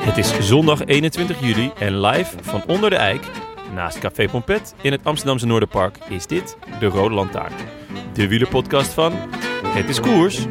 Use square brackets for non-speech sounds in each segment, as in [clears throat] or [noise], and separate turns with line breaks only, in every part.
Het is zondag 21 juli en live van onder de eik, naast Café Pompet in het Amsterdamse Noorderpark, is dit de Rode Lantaarn. De wielerpodcast van Het is Koers.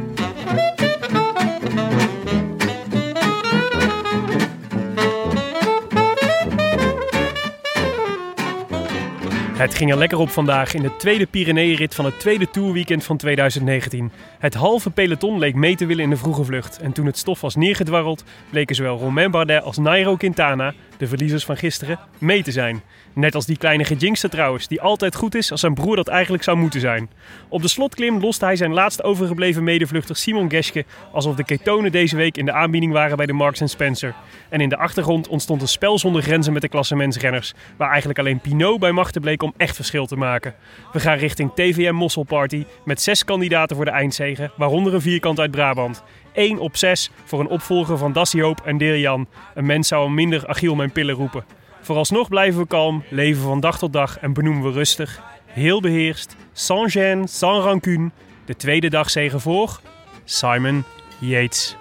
Het ging er lekker op vandaag in de tweede Pyrenee-rit van het tweede Tourweekend van 2019. Het halve peloton leek mee te willen in de vroege vlucht. En toen het stof was neergedwarreld, bleken zowel Romain Bardet als Nairo Quintana, de verliezers van gisteren, mee te zijn. Net als die kleine gejinkste trouwens, die altijd goed is als zijn broer dat eigenlijk zou moeten zijn. Op de slotklim loste hij zijn laatst overgebleven medevluchter Simon Geschke alsof de ketonen deze week in de aanbieding waren bij de Marks Spencer. En in de achtergrond ontstond een spel zonder grenzen met de klassementsrenners, waar eigenlijk alleen Pinot bij machten bleek om echt verschil te maken. We gaan richting TVM Mossel Party met zes kandidaten voor de eindzegen, waaronder een vierkant uit Brabant. 1 op 6 voor een opvolger van Dassie Hoop en Dirjan. Een mens zou hem minder Achiel mijn pillen roepen. Vooralsnog blijven we kalm, leven van dag tot dag en benoemen we rustig. Heel beheerst, sans gêne, sans rancune. De tweede dagzegen voor Simon Yates.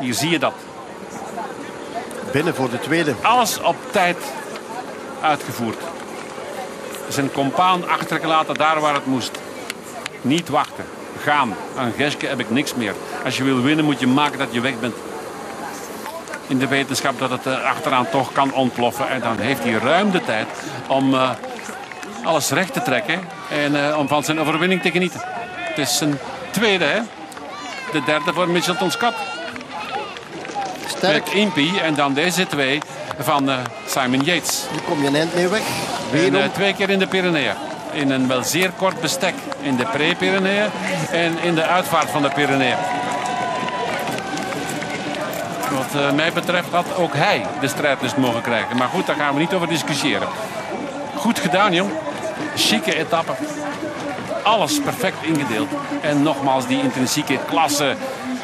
Hier zie je dat.
Binnen voor de tweede.
Alles op tijd uitgevoerd. Zijn compaan achtergelaten daar waar het moest. Niet wachten. Gaan. Aan Geske heb ik niks meer. Als je wil winnen moet je maken dat je weg bent. In de wetenschap dat het eh, achteraan toch kan ontploffen. En dan heeft hij ruim de tijd om eh, alles recht te trekken. En eh, om van zijn overwinning te genieten. Het is zijn tweede, hè? De derde voor Mitchelton Scott.
Sterk.
Met Impie en dan deze twee van eh, Simon Yates.
Hier kom je een eind mee weg.
En,
Wederom.
eh, twee keer in de Pyreneeën. In een wel zeer kort bestek. In de pre-Pyreneeën en in de uitvaart van de Pyreneeën. Wat eh, mij betreft had ook hij de strijdlust mogen krijgen. Maar goed, daar gaan we niet over discussiëren. Goed gedaan, jong. Chique etappe. Alles perfect ingedeeld. En nogmaals die intrinsieke klasse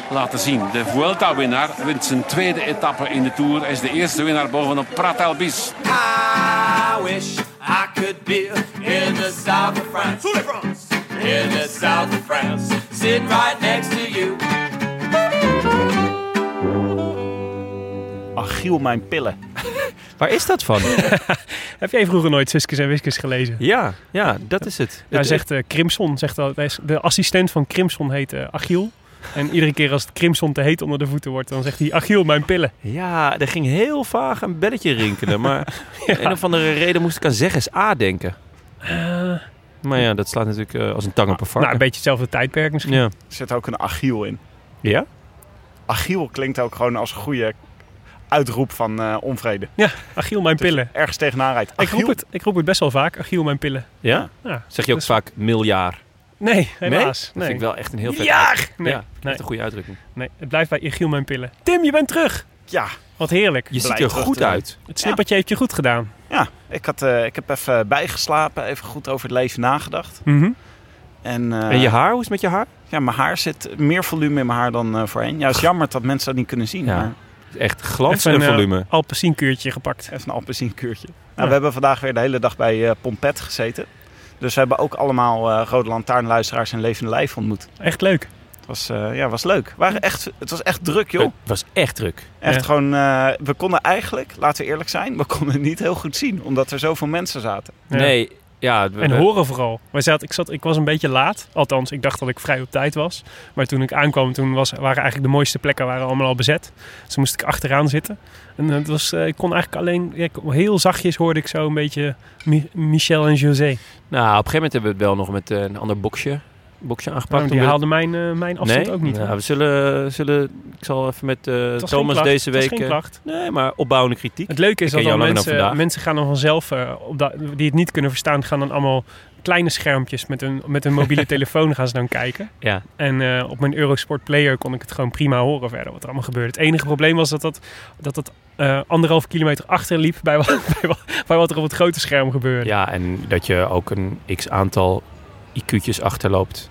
laten zien. De Vuelta-winnaar wint zijn tweede etappe in de Tour. Hij is de eerste winnaar bovenop Prat Albis.
I wish I could be in the south of France. In the south of France. Sitting right next to you.
Achiel mijn pillen.
Waar is dat van?
Heb jij vroeger nooit Suskes en Wiskes gelezen?
[laughs] ja, ja, dat is het.
Hij
Het-
zegt eh, Crimson, zegt dat, hij is- de assistent van Crimson heet eh, Achiel. En iedere keer als het Crimson te heet onder de voeten wordt, dan zegt hij Achiel, mijn pillen.
Ja, er ging heel vaag een belletje rinkelen.
[laughs]
Maar om een of andere reden moest ik aan zeggens A denken. Maar ja, dat slaat natuurlijk eh, als een tang op een varken.
Eh. Nou, een beetje hetzelfde tijdperk misschien.
ja.
Er zit ook een Achiel in.
ja?
Achiel klinkt ook gewoon als een goede uitroep van eh, onvrede.
Ja, Achiel, mijn pillen.
Ergens tegenaan rijdt.
Ik roep,
Achiel?
het, ik roep het best wel vaak, Achiel, mijn pillen.
Ja?
Ja. Dus-
Zeg je ook vaak miljaar?
Nee, helaas.
Dat vind ik wel echt een heel vet
Ja!
uitdrukking.
Nee,
Ja,
nee.
echt een goede uitdrukking.
nee, het blijft bij Achiel, mijn pillen. Tim, je bent terug!
Ja,
Wat heerlijk.
Je ziet
Blij
er
terug
goed
te zijn.
uit.
Het slippertje heeft je goed gedaan.
ja. Ik, had, eh, ik heb even bijgeslapen, even goed over het leven nagedacht.
Mhm.
En, eh,
En je haar? Hoe is het met je haar?
Ja, mijn haar zit meer volume in mijn haar dan eh, voorheen. Ja, het is jammer dat mensen dat niet kunnen zien.
Ja.
Maar
Echt glans
Even
en
een eh,
volume.
alpecienkuurtje gepakt.
even een appelsienkuurtje. Nou, We hebben vandaag weer de hele dag bij eh, Pompet gezeten. Dus we hebben ook allemaal eh Rode Lantaarnluisteraars en Levende Lijf ontmoet.
Echt leuk.
Was, eh, ja, was leuk. Waren echt, het was echt druk, joh.
Het was echt druk.
Echt
Ja.
gewoon, eh, we konden eigenlijk, laten we eerlijk zijn, we konden het niet heel goed zien, omdat er zoveel mensen zaten.
Ja.
Nee, ja. we-
En
we-
horen vooral. Wij zaten, ik, zat, ik was een beetje laat. Althans, ik dacht dat ik vrij op tijd was. Maar toen ik aankwam, toen was, waren eigenlijk de mooiste plekken waren allemaal al bezet. Dus toen moest ik achteraan zitten. En het was, eh, ik kon eigenlijk alleen... ja, ik- heel zachtjes hoorde ik zo een beetje Mi- Michel en José.
Nou, op een gegeven moment hebben we het wel nog met eh, een ander boxje, boxje aangepakt.
Maar
Toen
die
we-
haalden mijn, eh, mijn afstand
nee?
ook niet.
Nou, we zullen, zullen... Ik zal even met eh,
Het was geen
Thomas
klacht,
deze
het was
week...
geen
eh,
klacht.
nee, maar opbouwende kritiek.
Het leuke is
Ik ken
dat
jou
dan
langer dan
mensen,
vandaag.
mensen gaan dan vanzelf, eh, op dat, die het niet kunnen verstaan, gaan dan allemaal kleine schermpjes met hun, met hun
[laughs]
mobiele telefoon gaan ze dan kijken.
Ja.
En eh, op mijn Eurosport Player kon ik het gewoon prima horen verder wat er allemaal gebeurde. Het enige probleem was dat dat, dat, dat eh, anderhalf kilometer achterliep bij wat, [laughs] bij, wat, bij wat er op het grote scherm gebeurde.
Ja, en dat je ook een x-aantal IQ'tjes achterloopt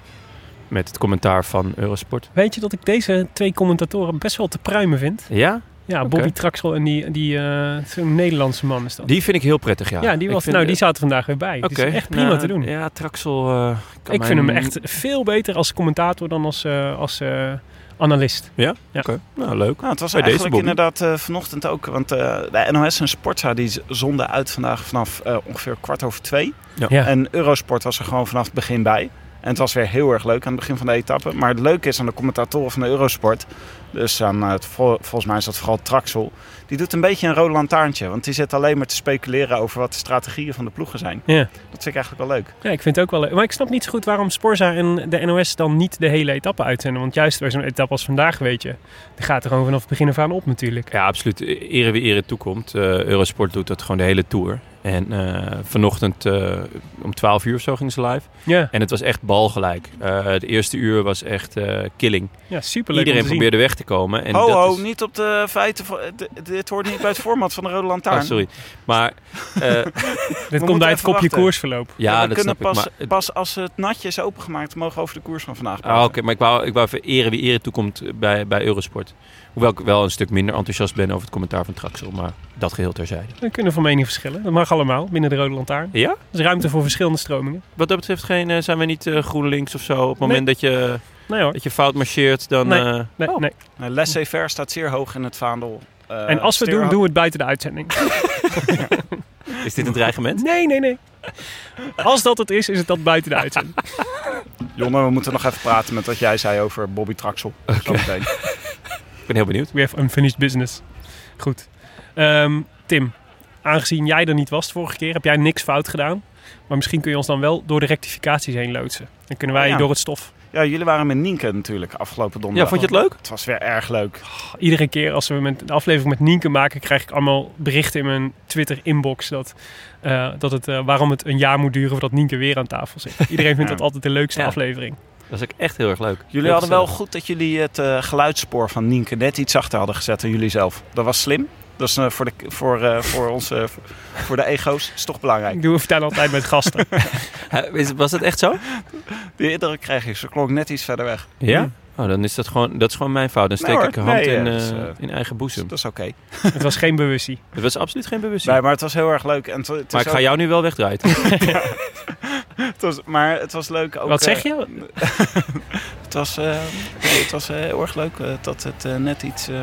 met het commentaar van Eurosport.
Weet je dat ik deze twee commentatoren best wel te pruimen vind?
Ja,
Ja, Bobby Traxel en die, die eh, zo'n Nederlandse man is dat.
die vind ik heel prettig, ja.
ja, die,
Ik
was,
vind-
nou, die zaten vandaag weer bij.
Oké.
Die is echt prima
Nou,
te doen.
Ja, Traxel... eh, kan
Ik
mij
vind hem
niet-
echt veel beter als commentator dan als, eh, als eh, analist.
Oké, nou leuk.
Nou, het was
Bij deze,
eigenlijk
Bobby.
inderdaad eh, vanochtend ook, want eh, de NOS en Sportza die z- zonden uit vandaag vanaf eh, ongeveer kwart over twee.
Ja.
En Eurosport was er gewoon vanaf het begin bij. En het was weer heel erg leuk aan het begin van de etappe. Maar het leuke is aan de commentatoren van de Eurosport. Dus aan eh, het, vol- volgens mij is dat vooral Traxel. Die doet een beetje een rode lantaarntje. Want die zit alleen maar te speculeren over wat de strategieën van de ploegen zijn.
Ja.
Dat vind ik eigenlijk wel leuk.
ja, ik vind het ook wel leuk. Maar ik snap niet zo goed waarom Sporza en de NOS dan niet de hele etappe uitzenden. Want juist bij zo'n etappe als vandaag, weet je, die gaat er gewoon vanaf het begin af aan op natuurlijk.
Ja, absoluut. E-, Ere wie ere toekomt. Eh, Eurosport doet dat gewoon de hele tour. En eh, vanochtend eh, om 12 uur of zo ging ze live.
Ja,
En het was echt balgelijk. Eh het eerste uur was echt eh, killing.
ja superleuk
Iedereen
om te
probeerde weg te komen. En
ho,
dat
ho,
is-
niet op de feiten. van- eh, d- dit hoort niet bij het format van de rode lantaarn.
Oh, sorry. Maar [laughs] eh,
zien.
We
Dit komt
moeten
bij het kopje
even wachten.
koersverloop.
ja,
we
dat
kunnen
snap
pas,
ik. Maar,
pas als het natje is opengemaakt, mogen we over de koers van vandaag
Ah,
praten.
Oké, maar ik wou, ik wou even ere wie ere toekomt bij, bij Eurosport. Hoewel ik wel een stuk minder enthousiast ben over het commentaar van Traxel. Maar dat geheel terzijde.
We kunnen van mening verschillen. Dat mag allemaal binnen de Rode Lantaarn.
Ja?
Er is ruimte voor verschillende stromingen.
Wat dat betreft geen, eh, zijn we niet eh, GroenLinks of zo. Op het moment dat, je,
Nee
Oh.
hoor.
dat je fout marcheert, dan...
Nee.
eh,
Nee, nee.
Nou, Laissez-faire staat zeer hoog in het vaandel. Eh,
En als we het doen,
Steerhout-
doen we het buiten de uitzending.
Is dit een dreigement?
Nee, nee, nee. Als dat het is, is het dat
[laughs]
buiten de uitzending.
Jonne, we moeten nog even praten met wat jij zei over Bobby Traxel. Zometeen.
Ik ben heel benieuwd.
We have unfinished business. Goed. Ehm, Tim, aangezien jij er niet was de vorige keer, heb jij niks fout gedaan. Maar misschien kun je ons dan wel door de rectificaties heen loodsen. Dan kunnen wij
Ja.
door het stof.
Ja, jullie waren met Nienke natuurlijk afgelopen
Ja,
donderdag.
vond je het leuk?
Het was weer erg leuk.
Iedere keer als we met een aflevering met Nienke maken, krijg ik allemaal berichten in mijn Twitter-inbox. Dat, eh, dat het, eh, waarom het een jaar moet duren voordat Nienke weer aan tafel zit. Iedereen vindt
Ja.
dat altijd de leukste
Ja.
aflevering.
Dat is ook echt heel erg leuk.
Jullie
Heel
hadden wel
gezellig.
goed dat jullie het eh, geluidsspoor van Nienke net iets zachter hadden gezet dan jullie zelf. Dat was slim. Dat is eh, voor, de, voor, eh, voor, ons, eh, voor de ego's is toch belangrijk.
Ik doe vertel altijd met gasten.
Hè, eh, is- Was dat echt zo?
Die indruk kreeg ik. Ze klonk net iets verder weg.
Ja? Oh, dan is dat gewoon, dat is gewoon mijn fout. Dan
Nee
steek
hoor,
ik een hand
nee,
in,
eh,
eh,
dat is, eh,
in eigen boezem.
Dat is oké.
het was geen bewustie.
Dat was absoluut geen bewustzijn.
Nee, maar het was heel erg leuk. En het, het is
maar ik ga
ook-
jou nu wel
[laughs]
wegdraaien.
het was, maar het was leuk [laughs] ook...
Wat zeg
eh,
je?
Het was, eh, nee, het was eh, heel erg leuk eh, dat het eh, net iets. eh,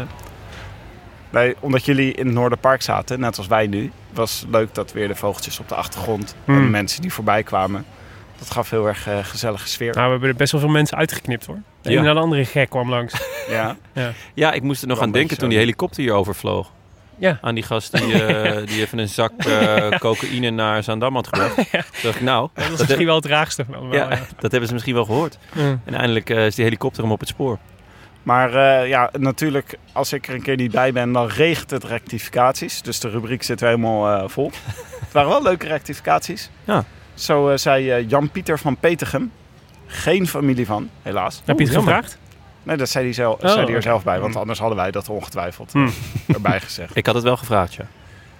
Wij, omdat jullie in het Noorderpark zaten, net als wij nu, was leuk dat weer de vogeltjes op de achtergrond en de
Hmm.
mensen die voorbij kwamen. Dat gaf heel erg eh, gezellige sfeer.
Nou, we hebben er best wel veel mensen uitgeknipt hoor. De
Ja.
een en de andere gek kwam langs.
Ja.
Ja, ik moest er nog
Wel
aan denken
een beetje
toen
zo.
die helikopter hier overvloog.
Ja.
Aan die gast die,
[laughs]
eh, die even een zak eh, cocaïne naar Zaandam had gebracht. Toen dacht ik, nou,
Dat was
dat,
misschien wel het raarste van allemaal.
ja,
Ja.
[laughs] dat hebben ze misschien wel gehoord.
Ja.
En eindelijk eh, is die helikopter hem op het spoor.
Maar eh, ja, natuurlijk, als ik er een keer niet bij ben, dan regent het rectificaties. Dus de rubriek zit weer helemaal
[laughs]
eh, vol. het waren wel leuke rectificaties.
Ja.
Zo eh, zei eh, Jan-Pieter van Petegem, geen familie van, helaas.
Heb je het
Oeh, jammer.
gevraagd?
Nee, dat zei hij, zelf,
Oh,
zei hij er
oké.
zelf bij, want
Hm.
Hmm.
anders hadden wij dat ongetwijfeld
Hmm.
eh, [laughs] erbij gezegd.
Ik had het wel gevraagd, ja.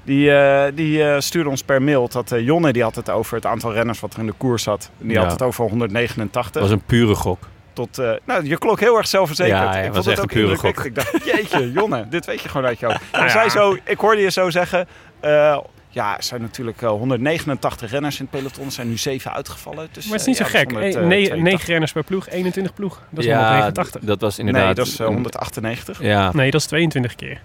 Die, eh, die eh, stuurde ons per mail dat eh, Jonne die had het over het aantal renners wat er in de koers zat. En die
Ja.
had het over
Het
189.
was een pure gok.
Tot, eh, nou, je klonk heel erg zelfverzekerd.
Ja, ja,
ik
was
vond het
echt
ook
een pure gok.
indrukwekkend. Ik dacht, jeetje, Jonne, dit weet je gewoon uit je hoofd. Hij
ja.
zei zo, ik hoorde je zo zeggen, eh, Ja, er zijn natuurlijk eh, 189 renners in het peloton. Er zijn nu zeven uitgevallen. Dus,
Maar het is
eh,
niet
ja,
zo gek.
dat is
Eh,
182.
nee, 9 renners per ploeg, 21 ploeg. Dat is
ja,
189.
d- dat was inderdaad...
Nee, dat is eh, 198.
Ja,
Nee, dat is 22 keer.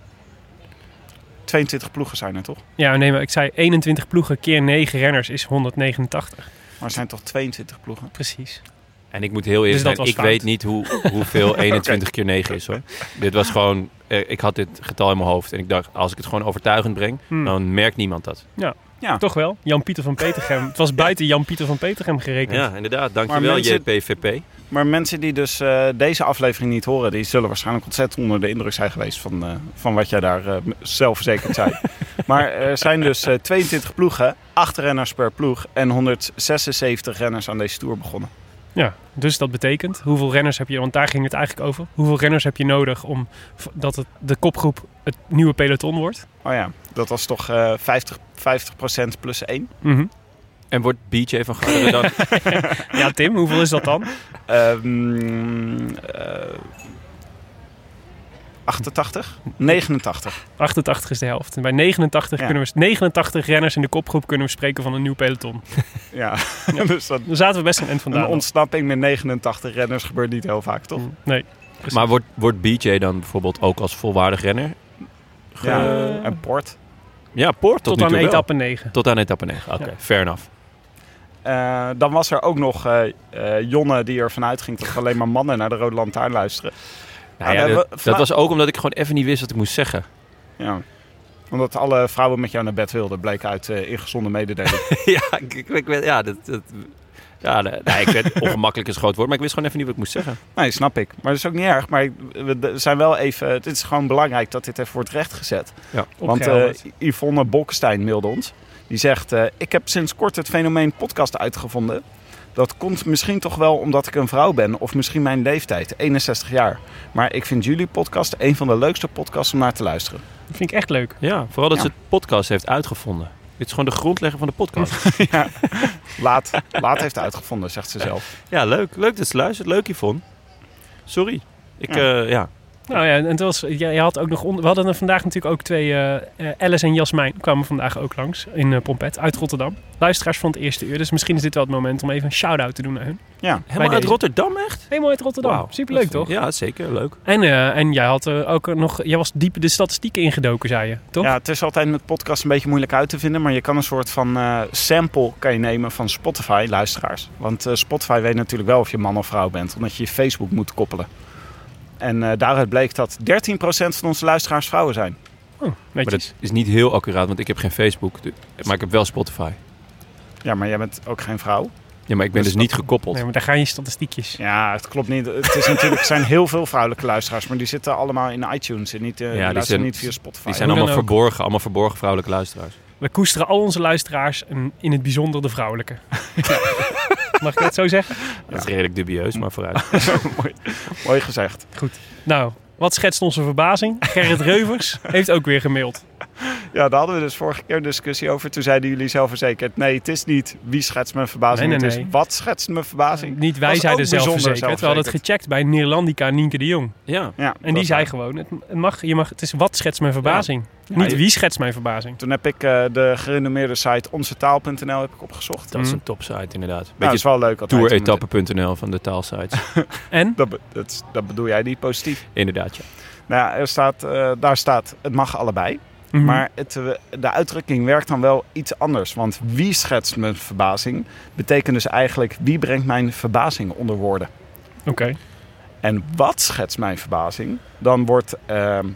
22 ploegen zijn er toch?
Ja, nee, maar ik zei 21 ploegen keer 9 renners is 189.
Maar er zijn toch 22 ploegen?
Precies.
en ik moet heel eerlijk
Dus
zijn,
dat was
ik
fout.
weet niet hoe, [laughs] hoeveel 21 keer 9 is hoor. Dit was gewoon, eh, ik had dit getal in mijn hoofd en ik dacht, als ik het gewoon overtuigend breng,
Hmm.
dan merkt niemand dat.
Ah. Toch wel? Jan-Pieter van Petergem. Het was buiten Jan-Pieter van Petergem gerekend.
Ja, inderdaad.
Maar
Dankjewel
mensen-
JPVP.
Maar mensen die dus eh, deze aflevering niet horen, die zullen waarschijnlijk ontzettend onder de indruk zijn geweest van, eh, van wat jij daar eh, m- zelfverzekerd zei. maar er zijn dus eh, 22 ploegen, 8 renners per ploeg en 176 renners aan deze tour begonnen.
Ja, dus dat betekent, hoeveel renners heb je, want daar ging het eigenlijk over. Hoeveel renners heb je nodig om v- dat het, de kopgroep het nieuwe peloton wordt?
Oh ja, dat was toch eh 50, 50% plus 1.
En wordt BJ van [laughs] Garderen dan...
Ja, Tim, hoeveel is dat dan?
Ehm, eh, 88? 89.
88 is de helft. En bij 89,
Ja.
kunnen we, 89 renners in de kopgroep kunnen we spreken van een nieuw peloton.
Ja, [laughs] dus dat,
Dan zaten we best aan het eind
een
vandaan. Mm,
ontsnapping met 89 renners gebeurt niet heel vaak, toch?
Nee.
Maar wordt, wordt BJ dan bijvoorbeeld ook als volwaardig renner? Ge-
Ja, en Port.
Ja, Poort tot,
Eh, Tot,
nu
aan
toe wel.
etappe 9.
Tot aan etappe 9, oké.
Ja.
Fair enough.
Eh, dan was er ook nog eh eh, Jonne die ervan uitging dat alleen maar mannen naar de Rode Lantaarn luisteren.
Nou
Ja,
ja,
we
dat,
hebben
dat
vla-
was ook omdat ik gewoon even niet wist wat ik moest zeggen.
Ja. Omdat alle vrouwen met jou naar bed wilden, bleek uit eh ingezonde mededeling.
[laughs] ja, ik, ik, ik weet- ja, dat... dat ja, nee, nee, ik [laughs] weet, ongemakkelijk is een groot woord, maar ik wist gewoon even niet wat ik moest zeggen.
nee, snap ik. Maar dat is ook niet erg. Maar ik- we d- zijn wel even, het is gewoon belangrijk dat dit even wordt rechtgezet. Want eh,
Opgehelderd.
Yvonne Bolkestein mailde ons. Die zegt, eh, ik heb sinds kort het fenomeen podcast uitgevonden. Dat komt misschien toch wel omdat ik een vrouw ben of misschien mijn leeftijd, 61 jaar. Maar ik vind jullie podcast een van de leukste podcasts om naar te luisteren.
dat vind ik echt leuk.
Ja, vooral dat
Ja.
ze het podcast heeft uitgevonden. Dit is gewoon de grondlegger van de [laughs] podcast.
Laat, laat heeft uitgevonden, zegt ze zelf.
ja, leuk. Leuk dat ze luistert. Leuk, Yvonne. Sorry. Ik, ja. ja.
Nou ja, en het was, ja, je had ook nog onder, we hadden er vandaag natuurlijk ook twee, eh, eh, Alice en Jasmijn kwamen vandaag ook langs in eh Pompet uit Rotterdam. Luisteraars van het eerste uur, dus misschien is dit wel het moment om even een shout-out te doen naar hun.
Helemaal uit
deze.
Rotterdam, echt?
Helemaal uit Rotterdam,
Wauw.
superleuk
Dat-
toch?
Ja, zeker. Leuk.
En, eh, en jij had eh, ook nog, jij was diep de statistieken ingedoken, zei je, toch?
Ja, het is altijd met podcast een beetje moeilijk uit te vinden, maar je kan een soort van eh, sample kan je nemen van Spotify luisteraars. Want eh, Spotify weet natuurlijk wel of je man of vrouw bent, omdat je je Facebook moet koppelen. En eh, daaruit bleek dat 13% van onze luisteraars vrouwen zijn.
Oh,
Maar
netjes.
dat is niet heel accuraat, want ik heb geen Facebook. du- Maar ik heb wel Spotify.
Ja, maar jij bent ook geen vrouw.
Ja, maar ik ben dus,
Dus
niet gekoppeld.
Nee, maar daar gaan je statistiekjes.
Ja, het klopt niet. Het is natuurlijk, er zijn heel veel vrouwelijke luisteraars, maar die zitten allemaal in iTunes en niet, eh,
Ja,
die
die
luisteren
zijn-
niet via Spotify.
Die zijn
Hoe dan
allemaal
ook.
verborgen, allemaal verborgen vrouwelijke luisteraars.
We koesteren al onze luisteraars en in het bijzonder de
[laughs]
vrouwelijke. Mag ik dat zo zeggen?
Dat is redelijk dubieus, maar vooruit.
mooi, mooi gezegd.
Nou, wat schetst onze verbazing? Gerrit Reuvers heeft ook weer gemaild.
Ja, daar hadden we dus vorige keer een discussie over. Toen zeiden jullie zelfverzekerd, nee, het is niet wie schetst mijn verbazing.
Nee, nee,
Het
nee.
is wat schetst mijn verbazing.
Niet wij
Was
zeiden
ook bijzonder
zelfverzekerd. We hadden het
zelfverzekerd.
gecheckt bij Neerlandica Nienke de Jong.
[laughs] Ja.
Ja,
En die
dat
zei
waar.
gewoon, het, het mag, je mag, het is wat schetst mijn verbazing. Niet
je-
wie schetst mijn verbazing.
Toen heb ik eh, de gerenommeerde site onzetaal.nl heb ik opgezocht.
Dat is
Mm.
een topsite inderdaad.
Nou, dat is
Beetje
wel leuk. altijd om het-
touretappe.nl van de [laughs] taalsites.
En?
Dat, be- dat, is- dat bedoel jij niet positief.
inderdaad, ja.
Nou ja, er staat, eh, daar staat, het mag allebei.
Mhm.
Maar het, eh, de uitdrukking werkt dan wel iets anders. Want wie schetst mijn verbazing betekent dus eigenlijk wie brengt mijn verbazing onder woorden.
Oké.
En wat schetst mijn verbazing? Dan wordt. ehm,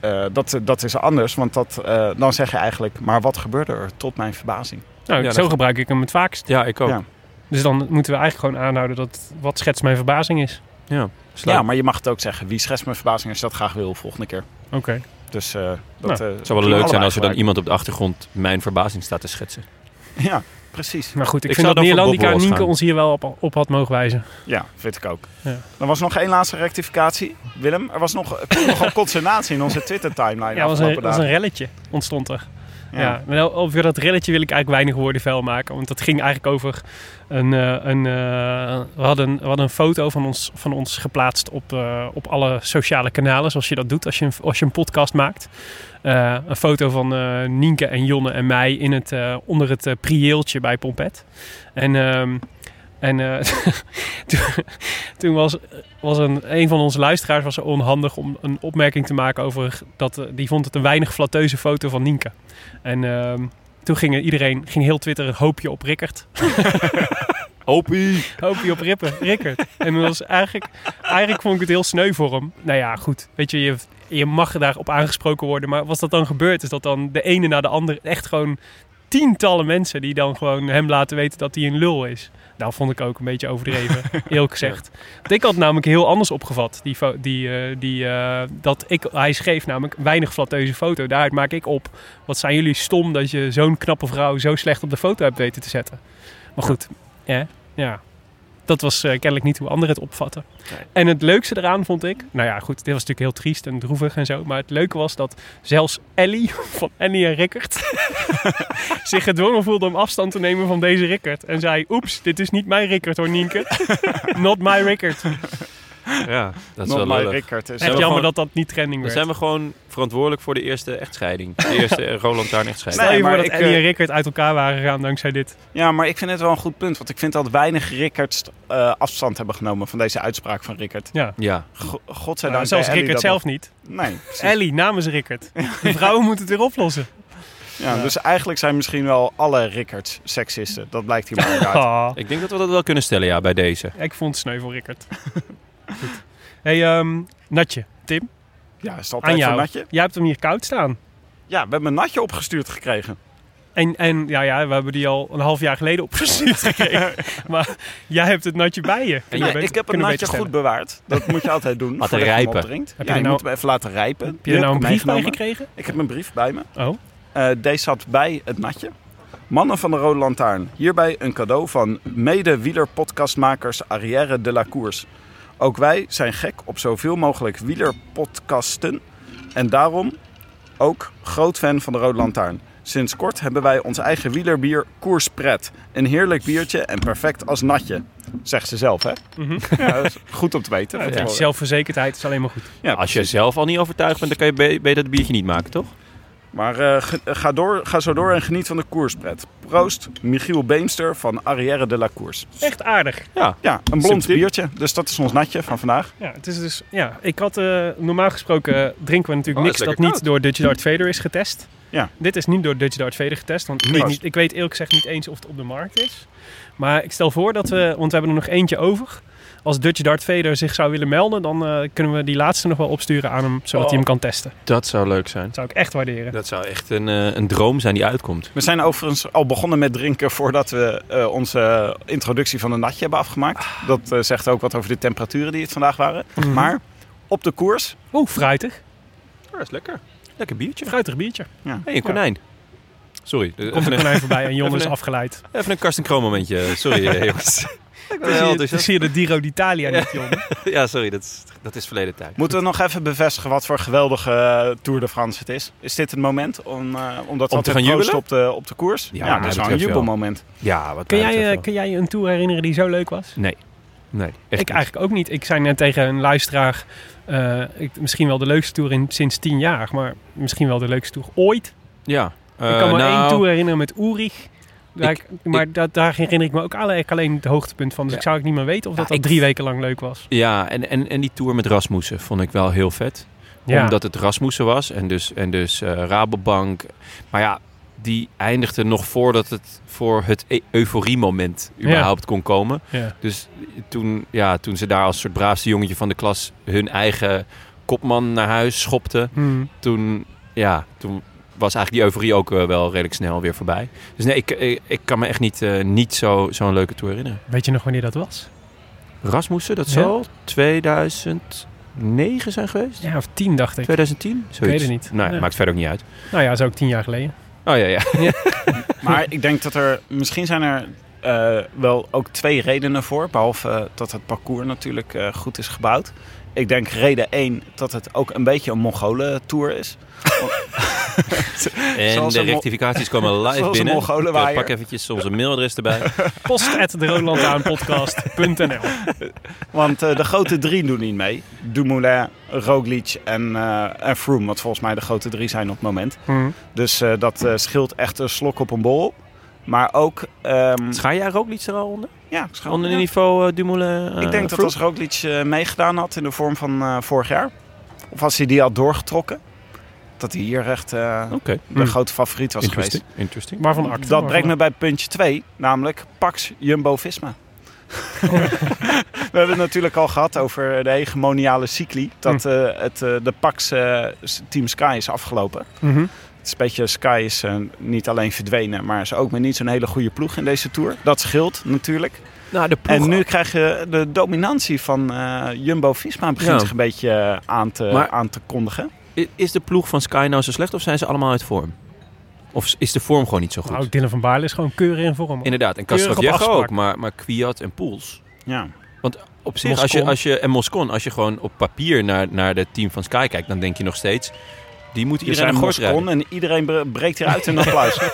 eh, dat, dat is anders, want dat, eh, dan zeg je eigenlijk. Maar wat gebeurde er tot mijn verbazing?
Nou,
Ja,
zo
dat-
gebruik ik hem het vaakst.
Ja, ik ook. Ja.
Ja.
Dus dan moeten we eigenlijk gewoon aanhouden dat wat schetst mijn verbazing is.
Sluit.
Ja, maar je mag het ook zeggen. Wie schetst mijn verbazing als je dat graag wil volgende keer?
Oké.
Dus eh, dat.
Nou,
eh,
Het zou wel
doen
leuk zijn
allebei
als er dan
gelijk.
iemand op de achtergrond mijn verbazing staat te schetsen.
Ja, precies.
Maar goed, ik,
Ik
vind
zou dan
dat
voor Bob
Nederlandica
Ross
Nienke
gaan.
ons hier wel op, op had mogen wijzen.
Ja, vind ik ook.
Ja.
Dan was nog één laatste rectificatie. Willem, er was nog, er kwam nogal consternatie in onze
Ja,
Twitter-timeline.
dat was een,
afgelopen
was een
dagen.
relletje ontstond er. Ja. Maar over dat relletje wil ik eigenlijk weinig woorden vuil maken. Want dat ging eigenlijk over een... eh, een eh, we, hadden, we hadden een foto van ons, van ons geplaatst op, eh, op alle sociale kanalen. Zoals je dat doet als je een, als je een podcast maakt. Eh, een foto van eh, Nienke en Jonne en mij in het, eh, onder het eh, prieeltje bij Pompet. En... ehm, en eh, [laughs] toen, toen was, was een, een van onze luisteraars was onhandig om een opmerking te maken over dat eh, die vond het een weinig flatteuze foto van Nienke. En ehm, toen ging iedereen, ging heel Twitter een hoopje op Rickert.
Opie!
Hoopje op Rippen, Rickert. En dat was eigenlijk, eigenlijk vond ik het heel sneu voor hem. Nou ja, goed. Weet je, je, je mag daarop aangesproken worden. Maar was dat dan gebeurd? Is dat dan de ene na de andere echt gewoon tientallen mensen die dan gewoon hem laten weten dat hij een lul is? Nou, vond ik ook een beetje overdreven, eerlijk gezegd. Want [laughs] ik had het namelijk heel anders opgevat. Die, fo- die, eh, die, eh, dat ik, hij schreef namelijk weinig flatteuze foto. Daaruit maak ik op. Wat zijn jullie stom dat je zo'n knappe vrouw zo slecht op de foto hebt weten te zetten. Maar goed, hè? ja. Dat was eh, kennelijk niet hoe anderen het opvatten. En het leukste eraan vond ik... Nou ja, goed, dit was natuurlijk heel triest en droevig en zo. Maar het leuke was dat zelfs Ellie [laughs] van Annie en Rickert... [laughs] zich gedwongen voelde om afstand te nemen van deze Rickert. En zei, oeps, dit is niet mijn Rickert hoor, Nienke. [laughs] Not my Rickert.
Ja, dat is
Not my
wel leuk.
Rickard. Is
Echt
we
heel-
jammer
gewoon-
dat dat niet trending
Dan
werd.
zijn we gewoon verantwoordelijk voor de eerste echtscheiding. De eerste eh, Roland Taarn echtscheiding.
Stel je
Nee,
voor
maar
dat
ik,
Ellie
eh,
en Rickert uit elkaar waren gegaan dankzij dit.
Ja, maar ik vind het wel een goed punt. Want ik vind dat weinig Rickards eh, afstand hebben genomen van deze uitspraak van Rickert.
Ja,
Go- Godzijdank.
Nou, zelfs
bij Ellie
Rickert
dat
zelf niet.
nog- Nee, precies.
Ellie namens Rickert.
[laughs]
De vrouwen moeten het weer oplossen.
Ja, Dus eigenlijk zijn misschien wel alle Rickards seksisten. Dat blijkt
[laughs]
hier maar uit.
Ah.
ik denk dat we dat wel kunnen stellen ja, bij deze.
Ik vond het sneu voor Rickert. Goed. hey, ehm, Natje, Tim,
Ja, is het
aan
altijd
jou.
een natje?
Jij hebt hem hier koud staan.
Ja, we hebben een natje opgestuurd gekregen.
En, en ja, ja, we hebben die al een half jaar geleden
[laughs]
opgestuurd gekregen. maar jij hebt het natje bij je. Kun je
Nee,
beter-
ik heb een
kunnen we
natje
beter
goed bewaard. Dat moet je altijd doen. voordat je hem
rijpen.
opdrinkt.
Heb
ja,
je
je
nou-
moet hem even laten rijpen.
stellen. Heb je er nou een brief bij
meegenomen.
gekregen?
Ik heb een brief bij me.
Oh,
Eh, deze zat bij het natje. Mannen van de Rode Lantaarn, hierbij een cadeau van mede-wielerpodcastmakers Arrière de la Course. Ook wij zijn gek op zoveel mogelijk wielerpodcasten en daarom ook groot fan van de Rode Lantaarn. Sinds kort hebben wij ons eigen wielerbier Koerspret. Een heerlijk biertje en perfect als natje. Zegt ze zelf, hè? Ja, dat is goed om te weten.
ja,
Van tevoren.
zelfverzekerdheid is alleen maar goed.
Ja,
Als je zelf al niet overtuigd bent, dan kan je be- beter het biertje niet maken, toch?
Maar eh, ge- eh, ga, door, ga zo door en geniet van de koerspret. Proost, Michiel Beemster van Arrière de la Course.
Echt aardig.
Ja.
Ja, een blond
Sympathiek.
biertje. Dus dat is ons natje van vandaag.
Ja, het is dus, ja, ik had, eh, normaal gesproken eh, drinken we natuurlijk
Oh,
niks
dat is lekker
dat niet
koud.
door Dutch Dart Vader is getest.
Ja.
Dit is niet door Dutch Dart Vader getest, want ik weet,
Proost.
niet, ik weet eerlijk gezegd niet eens of het op de markt is. Maar ik stel voor dat we, want we hebben er nog eentje over. Als Dutch Dart Vader zich zou willen melden, dan eh, kunnen we die laatste nog wel opsturen aan hem, zodat
Oh.
hij hem kan testen.
Dat zou leuk zijn.
Dat zou ik echt waarderen.
Dat zou echt een, eh, een droom zijn die uitkomt.
We zijn overigens al begonnen met drinken voordat we eh, onze eh, introductie van een natje hebben afgemaakt. Dat eh, zegt ook wat over de temperaturen die het vandaag waren.
Mhm.
Maar op de koers.
Oeh, fruitig.
dat is lekker. Lekker biertje.
Fruitig biertje.
hey, een konijn. Sorry, eh, [laughs]
Komt
even een,
er konijn voorbij en Jon
Even
is
een-
afgeleid.
even een Karsten Kroon momentje. Sorry, [laughs] eh, jongens. Ik ben heel
Dan zie je- dan
enthousiast.
zie je de Giro d'Italia niet, Jon.
Ja, sorry, dat is, dat is verleden tijd.
Moeten we nog even bevestigen wat voor geweldige eh, Tour de France het is? Is dit het moment om, eh om dat
Om
wat
te gaan
proosten
jubelen?
op de, op de koers?
Ja,
Ja,
mij
dat is wel een
betreft wel.
jubelmoment.
Ja, wat
Kun
mij betreft
jij, eh,
wel.
kun jij je een tour herinneren die zo leuk was?
Nee. Nee, echt
ik
niet.
eigenlijk ook niet. Ik zei net tegen een luisteraar, eh, ik, misschien wel de leukste tour in, sinds tien jaar, maar misschien wel de leukste tour ooit.
Ja.
ik
eh,
kan me één
nou,
tour herinneren met Ulrich. Daar
Ik-
ik- maar dat, daar herinner ik me ook eigenlijk alleen het hoogtepunt van. Dus
Ja.
ik zou ik niet meer weten of dat
Ja,
al
ik-
drie weken lang leuk was.
Ja, en, en, en die tour met Rasmussen vond ik wel heel vet.
Ja,
Omdat het Rasmussen was en dus, en dus eh, Rabobank. Maar ja, die eindigde nog voordat het voor het e- euforie-moment überhaupt kon komen.
ja.
Dus toen, ja, toen ze daar als soort braafste jongetje van de klas hun eigen kopman naar huis schopte,
Hmm.
toen, ja, toen was eigenlijk die euforie ook eh, wel redelijk snel weer voorbij. Dus nee, ik, ik, ik kan me echt niet, eh, niet zo- zo'n leuke tour herinneren.
Weet je nog wanneer dat was?
Rasmussen, dat
Ja.
zal 2009 zijn geweest?
Ja, of tien dacht ik.
2010? Zoiets.
het niet.
Nou ja,
Nee.
maakt verder ook niet uit.
Nou ja, dat is ook tien jaar
[laughs]
geleden.
Oh ja, ja.
Maar ik denk dat er misschien zijn er eh, wel ook twee redenen voor. Behalve eh, dat het parcours natuurlijk eh, goed is gebouwd. Ik denk reden één dat het ook een beetje een Mongolen-tour is.
En
Zoals
de
een mo-
rectificaties [laughs] komen live
Zoals een
binnen.
Mongolenwaaier.
Ik, eh, pak eventjes onze mailadres [laughs] erbij.
Post at de
Want eh, de grote drie doen niet mee. Dumoulin, Roglic en, eh en Froome. Wat volgens mij de grote drie zijn op het moment.
Hmm.
Dus eh, dat eh, scheelt echt een slok op een bol. Maar ook... ehm,
Schaar jij Roglic er al onder?
ja, scheelt-
Onder
ja.
niveau eh, Dumoulin? eh,
Ik denk dat
Froome?
als Roglic eh, meegedaan had in de vorm van eh, vorig jaar... of als hij die had doorgetrokken... dat hij hier echt eh,
Oké,
de
Hmm.
grote favoriet was geweest.
Oh, interesting. interesting.
Waarvan acte.
Dat brengt me bij puntje 2, namelijk Pax Jumbo-Visma. [laughs] We hebben het natuurlijk al gehad over de hegemoniale cycli. Dat
Hmm.
eh, het, eh, de Pax eh, s- Team Sky is afgelopen.
Mhm.
Het is een beetje, Sky is eh, niet alleen verdwenen, maar is ook met niet zo'n hele goede ploeg in deze Tour. Dat scheelt natuurlijk.
Nou, de ploeg
En nu krijg je de dominantie van eh, Jumbo-Visma begint
Ja.
zich een beetje eh, aan te,
Maar-
aan te kondigen.
I- Is de ploeg van Sky nou zo slecht of zijn ze allemaal uit vorm? Of s- is de vorm gewoon niet zo goed?
Nou, Dylan van Baarle is gewoon keurig in vorm.
Inderdaad, en
Keurig op
Kastrovjech ook,
afspraak.
maar, maar Kwiat en Poels.
Ja.
Op zich, als je,
Moscon.
als je, en Moscon, als je gewoon op papier naar, naar het team van Sky kijkt, dan denk je nog steeds, die moet
Je
iedereen een
zijn
gort rijden.
Moscon en iedereen bre- breekt hieruit in applaus.
[laughs]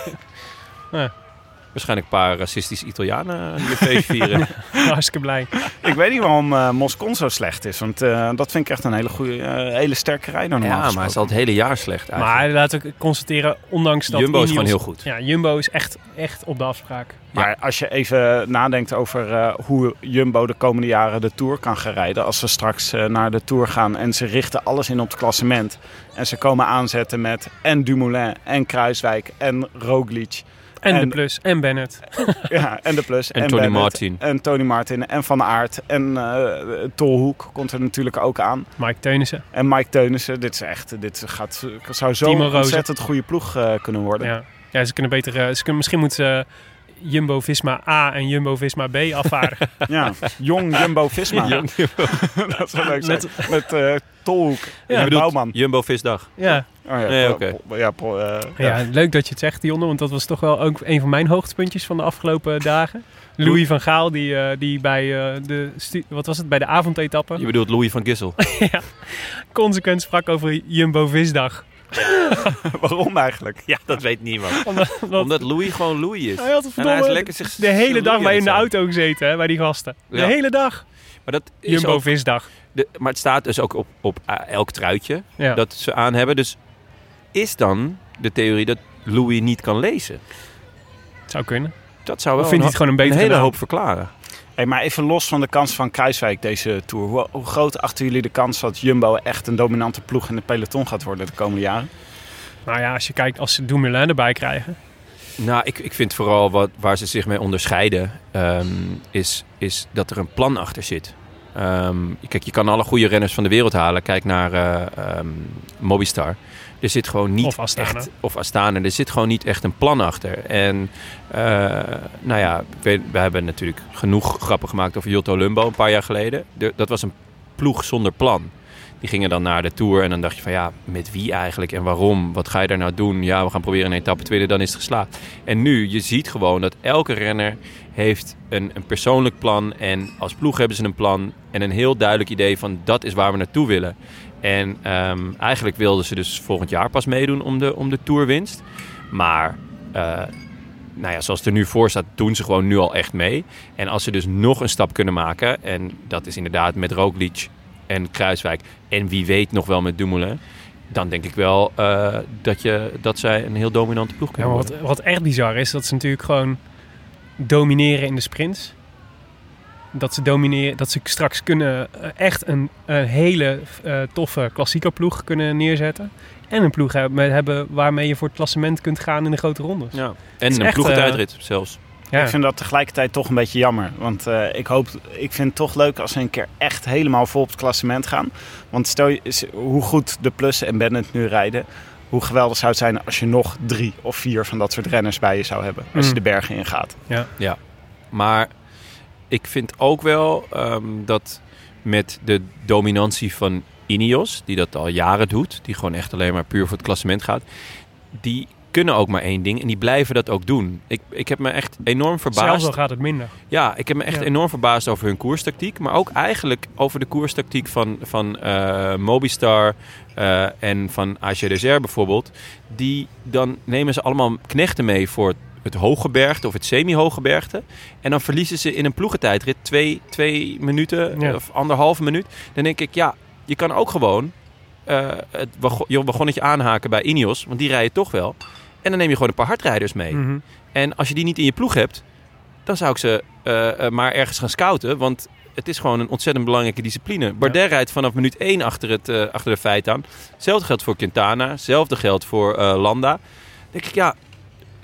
Waarschijnlijk een paar racistische Italianen die een feest vieren.
Hartstikke blij.
Ik weet niet waarom eh, Moscon zo slecht is. Want eh, dat vind ik echt een hele, goede, eh, hele sterke rijder normaal
ja, maar hij is al
gesproken.
het hele jaar slecht eigenlijk.
Maar laten we constateren, ondanks dat...
Jumbo is
Ineos-
gewoon heel goed.
Ja, Jumbo is echt, echt op de afspraak.
Maar als je even nadenkt over eh, hoe Jumbo de komende jaren de Tour kan gaan rijden. Als ze straks eh, naar de Tour gaan en ze richten alles in op het klassement. En ze komen aanzetten met en Dumoulin en Kruiswijk en Roglic.
En, de
En-
plus, en Bennett.
[laughs] Ja, en de plus.
En Tony
Bennett,
Martin.
En Tony Martin en Van Aert. En eh Tolhoek komt er natuurlijk ook aan.
Mike Teunissen.
En Mike Teunissen. Dit, is echt, dit gaat,
Timo
zou zo'n
Rozen.
ontzettend goede ploeg eh, kunnen worden.
Ja. ja, ze kunnen beter... eh, ze kunnen, misschien moeten ze Jumbo-Visma A en Jumbo-Visma B
[laughs]
afvaren.
Ja, jong Jumbo
[laughs]
Visma.
Jong
[laughs] dat zou leuk zijn. Met eh Tolhoek
Ja,
en
bedoelt-
Bouwman.
Jumbo Visdag.
ja.
Oh, ja,
Nee,
Paul-
oké.
Paul- ja, Paul, eh,
Ja, leuk dat je het zegt, Dionne, want dat was toch wel ook een van mijn hoogtepuntjes van de afgelopen dagen. Louis van Gaal, die, eh, die bij, eh, de stu- wat was het, bij de avondetappe
Je bedoelt Louis van Gissel.
consequent sprak over Jumbo Visdag.
Waarom eigenlijk?
ja, dat weet niemand.
[laughs] Omdat, omdat-
[laughs] Omdat Louis gewoon Louis is.
hij had het
En hij is
verdomme
lekker zich
de hele dag bij in de
zijn.
auto gezeten, hè, bij die gasten. De
Ja.
hele dag.
Maar, dat is
Jumbo
ook
Visdag.
de- maar het staat dus ook op, op eh, elk truitje.
Ja.
dat ze aan hebben. Dus is dan de theorie dat Louis niet kan lezen?
zou kunnen.
Dat zou wel
Of vindt hij
een,
het gewoon een
een
betere
hele
naam?
hoop verklaren.
Hey, maar even los van de kans van Kruiswijk deze Tour. Hoe, hoe groot achten jullie de kans dat Jumbo echt een dominante ploeg in het peloton gaat worden de komende jaren?
Nou ja, als je kijkt, als ze Dumoulin erbij krijgen.
Nou, ik, ik vind vooral wat, waar ze zich mee onderscheiden... ehm, is, is dat er een plan achter zit. Ehm, kijk, je kan alle goede renners van de wereld halen. Kijk naar eh, ehm, Mobistar. Er zit gewoon niet
Of Astana.
echt... Of Astana. Er zit gewoon niet echt een plan achter. En eh, nou ja, ik weet, we hebben natuurlijk genoeg grappen gemaakt over Jotto Lumbo een paar jaar geleden. De- dat was een ploeg zonder plan. Die gingen dan naar de Tour en dan dacht je van ja, met wie eigenlijk en waarom? Wat ga je daar nou doen? Ja, we gaan proberen een etappe te winnen, dan is het geslaagd. En nu, je ziet gewoon dat elke renner heeft een, een persoonlijk plan. En als ploeg hebben ze een plan en een heel duidelijk idee van dat is waar we naartoe willen. En ehm, eigenlijk wilden ze dus volgend jaar pas meedoen om de, om de Tourwinst. Maar eh, nou ja, zoals het er nu voor staat, doen ze gewoon nu al echt mee. En als ze dus nog een stap kunnen maken, en dat is inderdaad met Roglic en Kruiswijk... en wie weet nog wel met Dumoulin... dan denk ik wel eh, dat, je, dat zij een heel dominante ploeg
Ja,
kunnen
maar
worden.
wat, wat echt bizar is, dat ze natuurlijk gewoon domineren in de sprints. Dat ze, domineren, dat ze straks kunnen eh, echt een, een hele eh, toffe klassieke ploeg kunnen neerzetten. En een ploeg hebben, hebben waarmee je voor het klassement kunt gaan in de grote rondes.
Ja.
is
En een
echt, eh,
ploegentijdrit zelfs.
Ja.
Ik vind dat tegelijkertijd toch een beetje jammer. Want eh, ik, hoop, ik vind het toch leuk als ze een keer echt helemaal vol op het klassement gaan. Want stel je eens hoe goed de Plus en Bennett nu rijden. Hoe geweldig zou het zijn als je nog drie of vier van dat soort renners bij je zou hebben. Als je
Mm.
de bergen ingaat.
Maar ik vind ook wel ehm, dat met de dominantie van Ineos, die dat al jaren doet, die gewoon echt alleen maar puur voor het klassement gaat, die kunnen ook maar één ding en die blijven dat ook doen. Ik, ik heb me echt enorm
Zelfs
verbaasd.
al gaat het minder.
Ja, ik heb me echt
Ja.
enorm verbaasd over hun koerstactiek. Maar ook eigenlijk over de koerstactiek van, van eh, Mobistar eh, en van AG Desert bijvoorbeeld. Die dan nemen ze allemaal knechten mee voor het, het hoge bergte of het semi-hoge bergte. En dan verliezen ze in een ploegentijdrit twee, twee minuten
Ja.
of anderhalve minuut. Dan denk ik, ja, je kan ook gewoon eh het wago- je wagonnetje aanhaken bij Ineos. Want die rijden toch wel. En dan neem je gewoon een paar hardrijders mee.
Mhm.
En als je die niet in je ploeg hebt, dan zou ik ze eh, eh, maar ergens gaan scouten. Want het is gewoon een ontzettend belangrijke discipline. Bardet rijdt vanaf minuut 1 achter, het, eh, achter de feit aan. Hetzelfde geldt voor Quintana. Hetzelfde geldt voor eh, Landa. Dan denk ik, ja,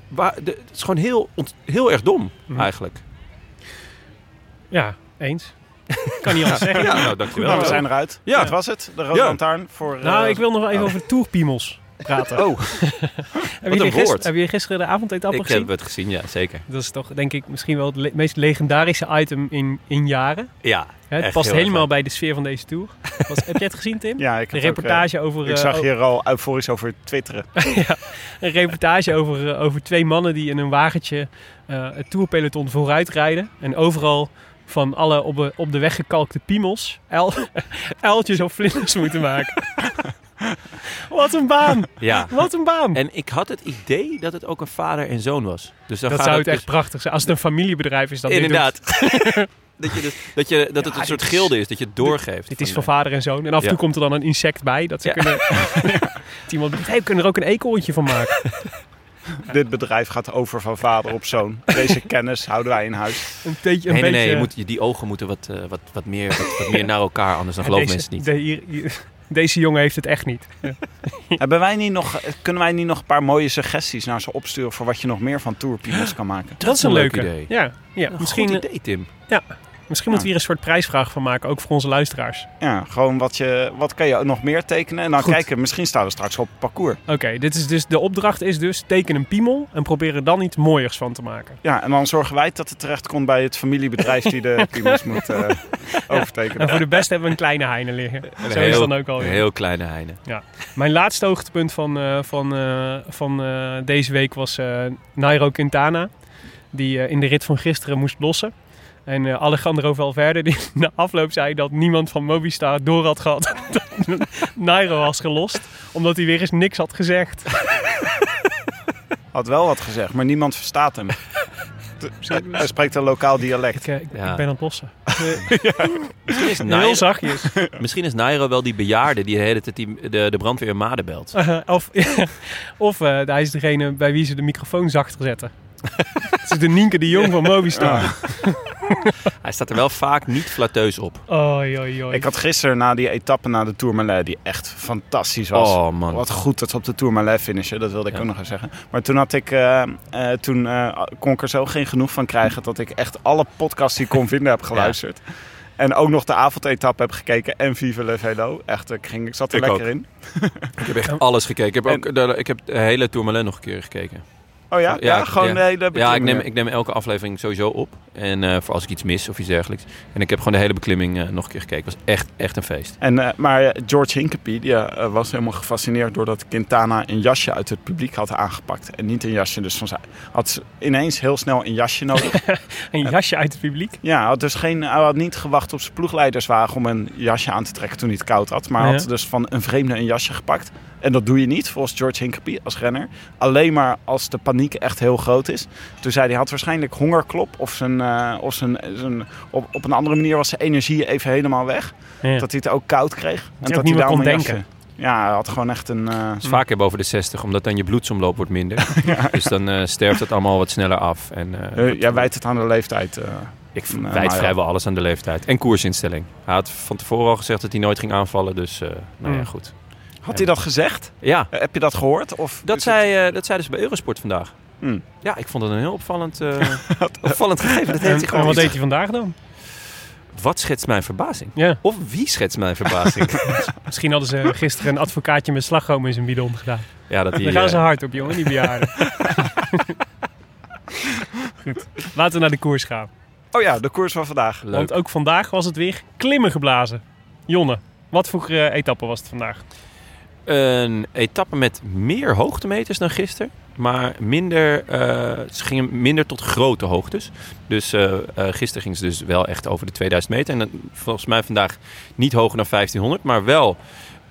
waar, de- het is gewoon heel, ont- heel erg dom
Mhm. [laughs]
eigenlijk.
Ja, eens. kan niet anders zeggen.
Ja, nou, dankjewel.
Nou, we zijn eruit.
Ja.
Dat was het. De Rode
Ja.
Lantaarn voor...
Oh. Nou,
eh,
ik wil nog wel even
oh.
over tourpiemels praten. [laughs]
Oh,
hebben,
een
jullie
woord.
gisteren, hebben jullie gisteren de avondetappel
ik eh,
gezien?
heb het gezien, ja, zeker.
Dat is toch denk ik misschien wel het le- meest legendarische item in, in jaren.
Ja,
Hè, het
Echt
past
heel erg
helemaal
leuk.
bij de sfeer van deze tour. Was, heb jij het gezien, Tim?
[laughs] Ja, ik
Een
heb ook, eh,
reportage over,
ik
eh,
zag
o-
hier al euforisch over
[laughs]
twitteren.
een reportage over, eh, over twee mannen die in een wagentje eh, het tourpeloton vooruit rijden. En overal van alle op de, op de weg gekalkte piemels [laughs] uil- uiltjes of vlinders moeten maken. Wat een baan!
Ja.
Wat een baan!
En ik had het idee dat het ook een vader en zoon was. Dus dan
dat
gaat
zou het
dus-
echt prachtig zijn. Als het een familiebedrijf is, dan [laughs]
Inderdaad. [laughs] dat, je dus, dat, je, dat het
Ja,
een soort
dit is-
gilde is, dat je het doorgeeft.
Dit
Van,
is
eh,
van vader en zoon. En af en
Ja.
toe komt er dan een insect bij. Dat ze
Ja.
kunnen... [laughs] dat iemand denkt, hey, we kunnen er ook een eekhoorntje van maken.
Dit bedrijf gaat over van vader op zoon. Deze kennis houden wij in huis.
Een, beetje, een
nee, nee,
beetje...
nee, je moet, je- die ogen moeten wat, eh, wat, wat, meer, wat, wat meer naar elkaar, anders dan geloven
[laughs] Deze-
mensen het niet.
de- hier- hier- deze jongen heeft het echt niet.
Hebben wij niet nog, eh, kunnen wij niet nog een paar mooie suggesties naar ze opsturen... voor wat je nog meer van tourpiemels kan maken?
Dat is een
een leuk
leuke.
idee.
Ja, ja.
Een
misschien,
Goed idee, Tim.
misschien moeten we hier een soort prijsvraag van maken, ook voor onze luisteraars.
Ja, gewoon wat, je, wat kan je nog meer tekenen? En dan
Goed.
kijken, misschien staan we straks op het parcours.
Oké, dit is dus, de opdracht is dus teken een piemel en probeer er dan iets mooiers van te maken.
Ja, en dan zorgen wij dat het terecht komt bij het familiebedrijf... die de piemels moet eh,
En
overtekenen.
voor de beste hebben we een kleine heine liggen.
Een
Zo is
heel-
het dan ook al.
Een
ja.
heel kleine heine.
Mijn laatste hoogtepunt van, eh, van, eh, van eh, deze week was eh, Nairo Quintana. Die eh, in de rit van gisteren moest lossen. En eh, Alejandro Valverde, die [laughs] na afloop zei dat niemand van Mobistar door had gehad [laughs] dat Nairo was gelost. Omdat hij weer eens niks had gezegd.
Had wel wat gezegd, maar niemand verstaat hem. Hij spreekt een lokaal dialect.
Ik, eh, ik,
Ja.
ik ben aan het lossen.
Misschien [laughs] is,
Heel
Nairo,
zachtjes. [laughs]
misschien is Nairo wel die bejaarde die de hele tijd die, de, de brandweer in Maden belt.
Eh, of [laughs] of eh, hij is degene bij wie ze de microfoon zachter zetten. Het is de Nienke de Jong van Mobistar.
Hij staat er wel vaak niet flatteus op.
Oei, oei, oei.
Ik had gisteren na die etappe na de Tourmalet, die echt fantastisch was.
Oh, man.
Wat goed dat ze op de Tourmalet finishen, dat wilde ik
Ja.
ook nog even zeggen. Maar toen had ik, eh, eh, toen eh, kon ik er zo geen genoeg van krijgen dat ik echt alle podcasts die ik kon
[laughs]
vinden heb geluisterd. En ook nog de avondetappe heb gekeken en Vive Le Velo. Echt, ik, ging, ik zat er
Ik
lekker
ook.
in.
Ik heb
Oh.
echt alles gekeken. Ik heb, ook, de, ik heb de hele Tourmalet nog een keer gekeken.
Oh
Ah,
ja? Ja,
ik-
gewoon de hele
Ja, ik
beklimming.
neem, ik neem elke aflevering sowieso op. En eh, voor als ik iets mis of iets dergelijks. En ik heb gewoon de hele beklimming eh, nog een keer gekeken. Het was echt, echt een feest.
En, eh, maar eh, George Hinkepie die, eh, was helemaal gefascineerd doordat Quintana een jasje uit het publiek had aangepakt. En niet een jasje, dus van zijn, had ze ineens heel snel een jasje nodig.
Een jasje uit het publiek.
Ja, hij had dus geen, hij had niet gewacht op zijn ploegleiderswagen om een jasje aan te trekken toen hij het koud had. Maar hij
Ja.
had dus van een vreemde een jasje gepakt. En dat doe je niet, volgens George Hinkepie als renner. Alleen maar als de paniek echt heel groot is. Toen zei hij, hij had waarschijnlijk hongerklop of, zijn, eh, of zijn, zijn, op, op een andere manier was zijn energie even helemaal weg.
Ja.
Dat hij het ook koud kreeg. En
ook
dat
niet meer
daarom
kon
een
denken.
jasje- Ja, hij had gewoon echt een... eh,
Het Dus
Hmm.
vaak hebben over de 60, omdat dan je bloedsomloop wordt minder.
[laughs]
Dus dan eh, sterft het allemaal wat sneller af. En, eh,
eh, jij wijt het aan de leeftijd. eh.
ik
nou,
wijd
ja.
vrijwel alles aan de leeftijd. En koersinstelling. Hij had van tevoren al gezegd dat hij nooit ging aanvallen. Dus eh, nou ja,
Mm.
goed.
had hij dat gezegd?
Ja,
Eh, heb je dat gehoord? Of
dat
is
zei, eh, dat zei dus bij Eurosport vandaag.
Hmm.
Mm.
Ja, ik vond het een heel opvallend,
[laughs]
eh, opvallend gegeven. Dat heeft
En,
hij
en
gewoon
wat
niet.
deed hij vandaag dan?
Wat schetst mijn verbazing?
Ja,
Of wie schetst mijn
[laughs]
verbazing?
misschien hadden ze gisteren een advocaatje met slagroom in zijn bidon gedaan.
ja, dat die,
Daar gaan
eh,
ze hard op, jongen, die
[laughs]
bejaarden. Goed, laten we naar de koers gaan.
het- Oh ja, de koers van vandaag.
leuk.
Want ook vandaag was het weer klimmen geblazen. Jonne, wat voor eh, etappe was het vandaag?
Een etappe met meer hoogtemeters dan gisteren. maar minder, eh, ze gingen minder tot grote hoogtes. Dus eh, eh, gisteren ging ze dus wel echt over de 2000 meter. En dan, volgens mij vandaag niet hoger dan 1500, maar wel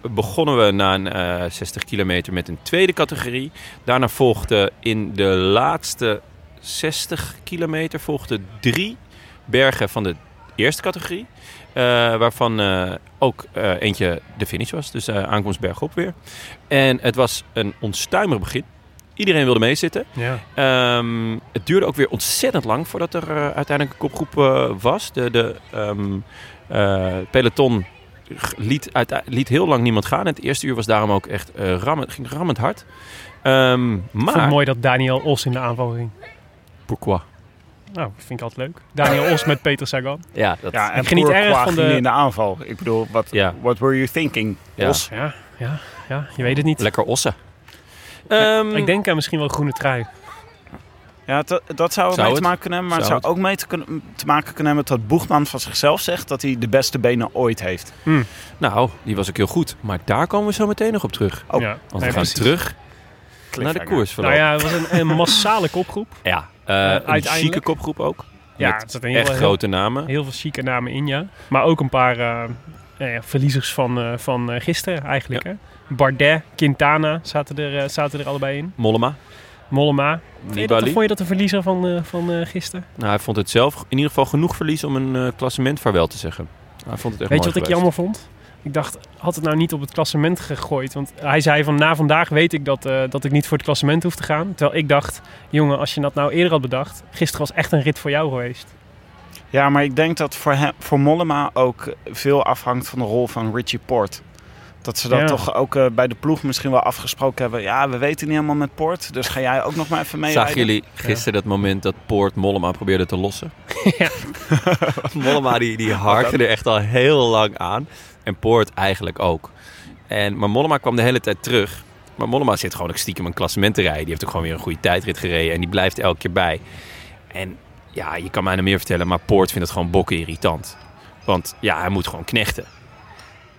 begonnen we na een eh, 60 kilometer met een tweede categorie. Daarna volgden in de laatste 60 kilometer volgden drie bergen van de eerste categorie. eh, waarvan eh, ook eh, eentje de finish was. Dus eh aankomst bergop weer. En het was een onstuimig begin. Iedereen wilde meezitten.
Ja.
Ehm, het duurde ook weer ontzettend lang voordat er eh, uiteindelijk een kopgroep eh, was. De, de ehm, eh, peloton g- liet, uite- liet heel lang niemand gaan. Het eerste uur was daarom ook echt eh rammend, ging rammend hard. Ehm,
Ik vond
maar...
het mooi dat Daniel Os in de aanval ging.
Pourquoi?
Nou, dat vind ik altijd leuk. Daniel Os met Peter Sagan.
Ja, dat,
Ja, en
Ik geniet
Courtois
erg van de-
ging in de aanval. Ik bedoel, wat
Ja.
what were you thinking?
Ja.
Os?
Ja, ja, ja. Je weet het niet.
lekker ossen. Ehm,
Ik denk aan misschien wel een groene trui.
Ja, dat, dat zou,
Zou
mee
het?
te maken kunnen hebben. Maar
Zou
het zou ook mee te, kunnen- te maken kunnen hebben dat Boegman van zichzelf zegt dat hij de beste benen ooit heeft.
Nou, die was ook heel goed. Maar daar komen we zo meteen nog op terug.
Oh,
ja.
Want we
Nee,
gaan
precies.
terug naar de
Cliffhanger.
koers
Nou ja, het was een, een massale
[laughs]
kopgroep.
Ja, eh, een
uiteindelijk-
chique kopgroep ook.
Ja,
Met
er zaten heel,
Echt
heel-
grote namen.
Heel veel chique namen in, ja. Maar ook een paar eh, nou ja, verliezers van, eh, van eh, gisteren eigenlijk. Hè? Bardet, Quintana zaten er, eh, zaten er allebei in.
Mollema,
Mollema. Vond je dat,
Nibali.
vond je dat een verliezer van, eh, van eh, gisteren?
Nou, hij vond het zelf in ieder geval genoeg verlies om een eh, klassement vaarwel te zeggen. Hij vond het echt
Weet je
mooi
wat ik jammer vond? Ik dacht, had het nou niet op het klassement gegooid? Want hij zei van na vandaag weet ik dat, eh, dat ik niet voor het klassement hoef te gaan. Terwijl ik dacht, jongen, als je dat nou eerder had bedacht, gisteren was echt een rit voor jou geweest.
Ja, maar ik denk dat voor, hem, voor Mollema ook veel afhangt van de rol van Richie Port. Dat ze dat
Ja.
toch ook eh, bij de ploeg misschien wel afgesproken hebben. Ja, we weten niet helemaal met Port, dus ga jij ook nog maar even mee.
Zagen jullie gisteren dat moment dat Poort Mollema probeerde te
[laughs]
lossen? [laughs] Mollema die, die harkte er echt al heel lang aan. En Poort eigenlijk ook. En, maar Mollema kwam de hele tijd terug. Maar Mollema zit gewoon ook stiekem een klassement te rijden. Die heeft ook gewoon weer een goede tijdrit gereden. En die blijft elke keer bij. En ja, je kan mij nog meer vertellen. Maar Poort vindt het gewoon bokken irritant. Want ja, hij moet gewoon knechten.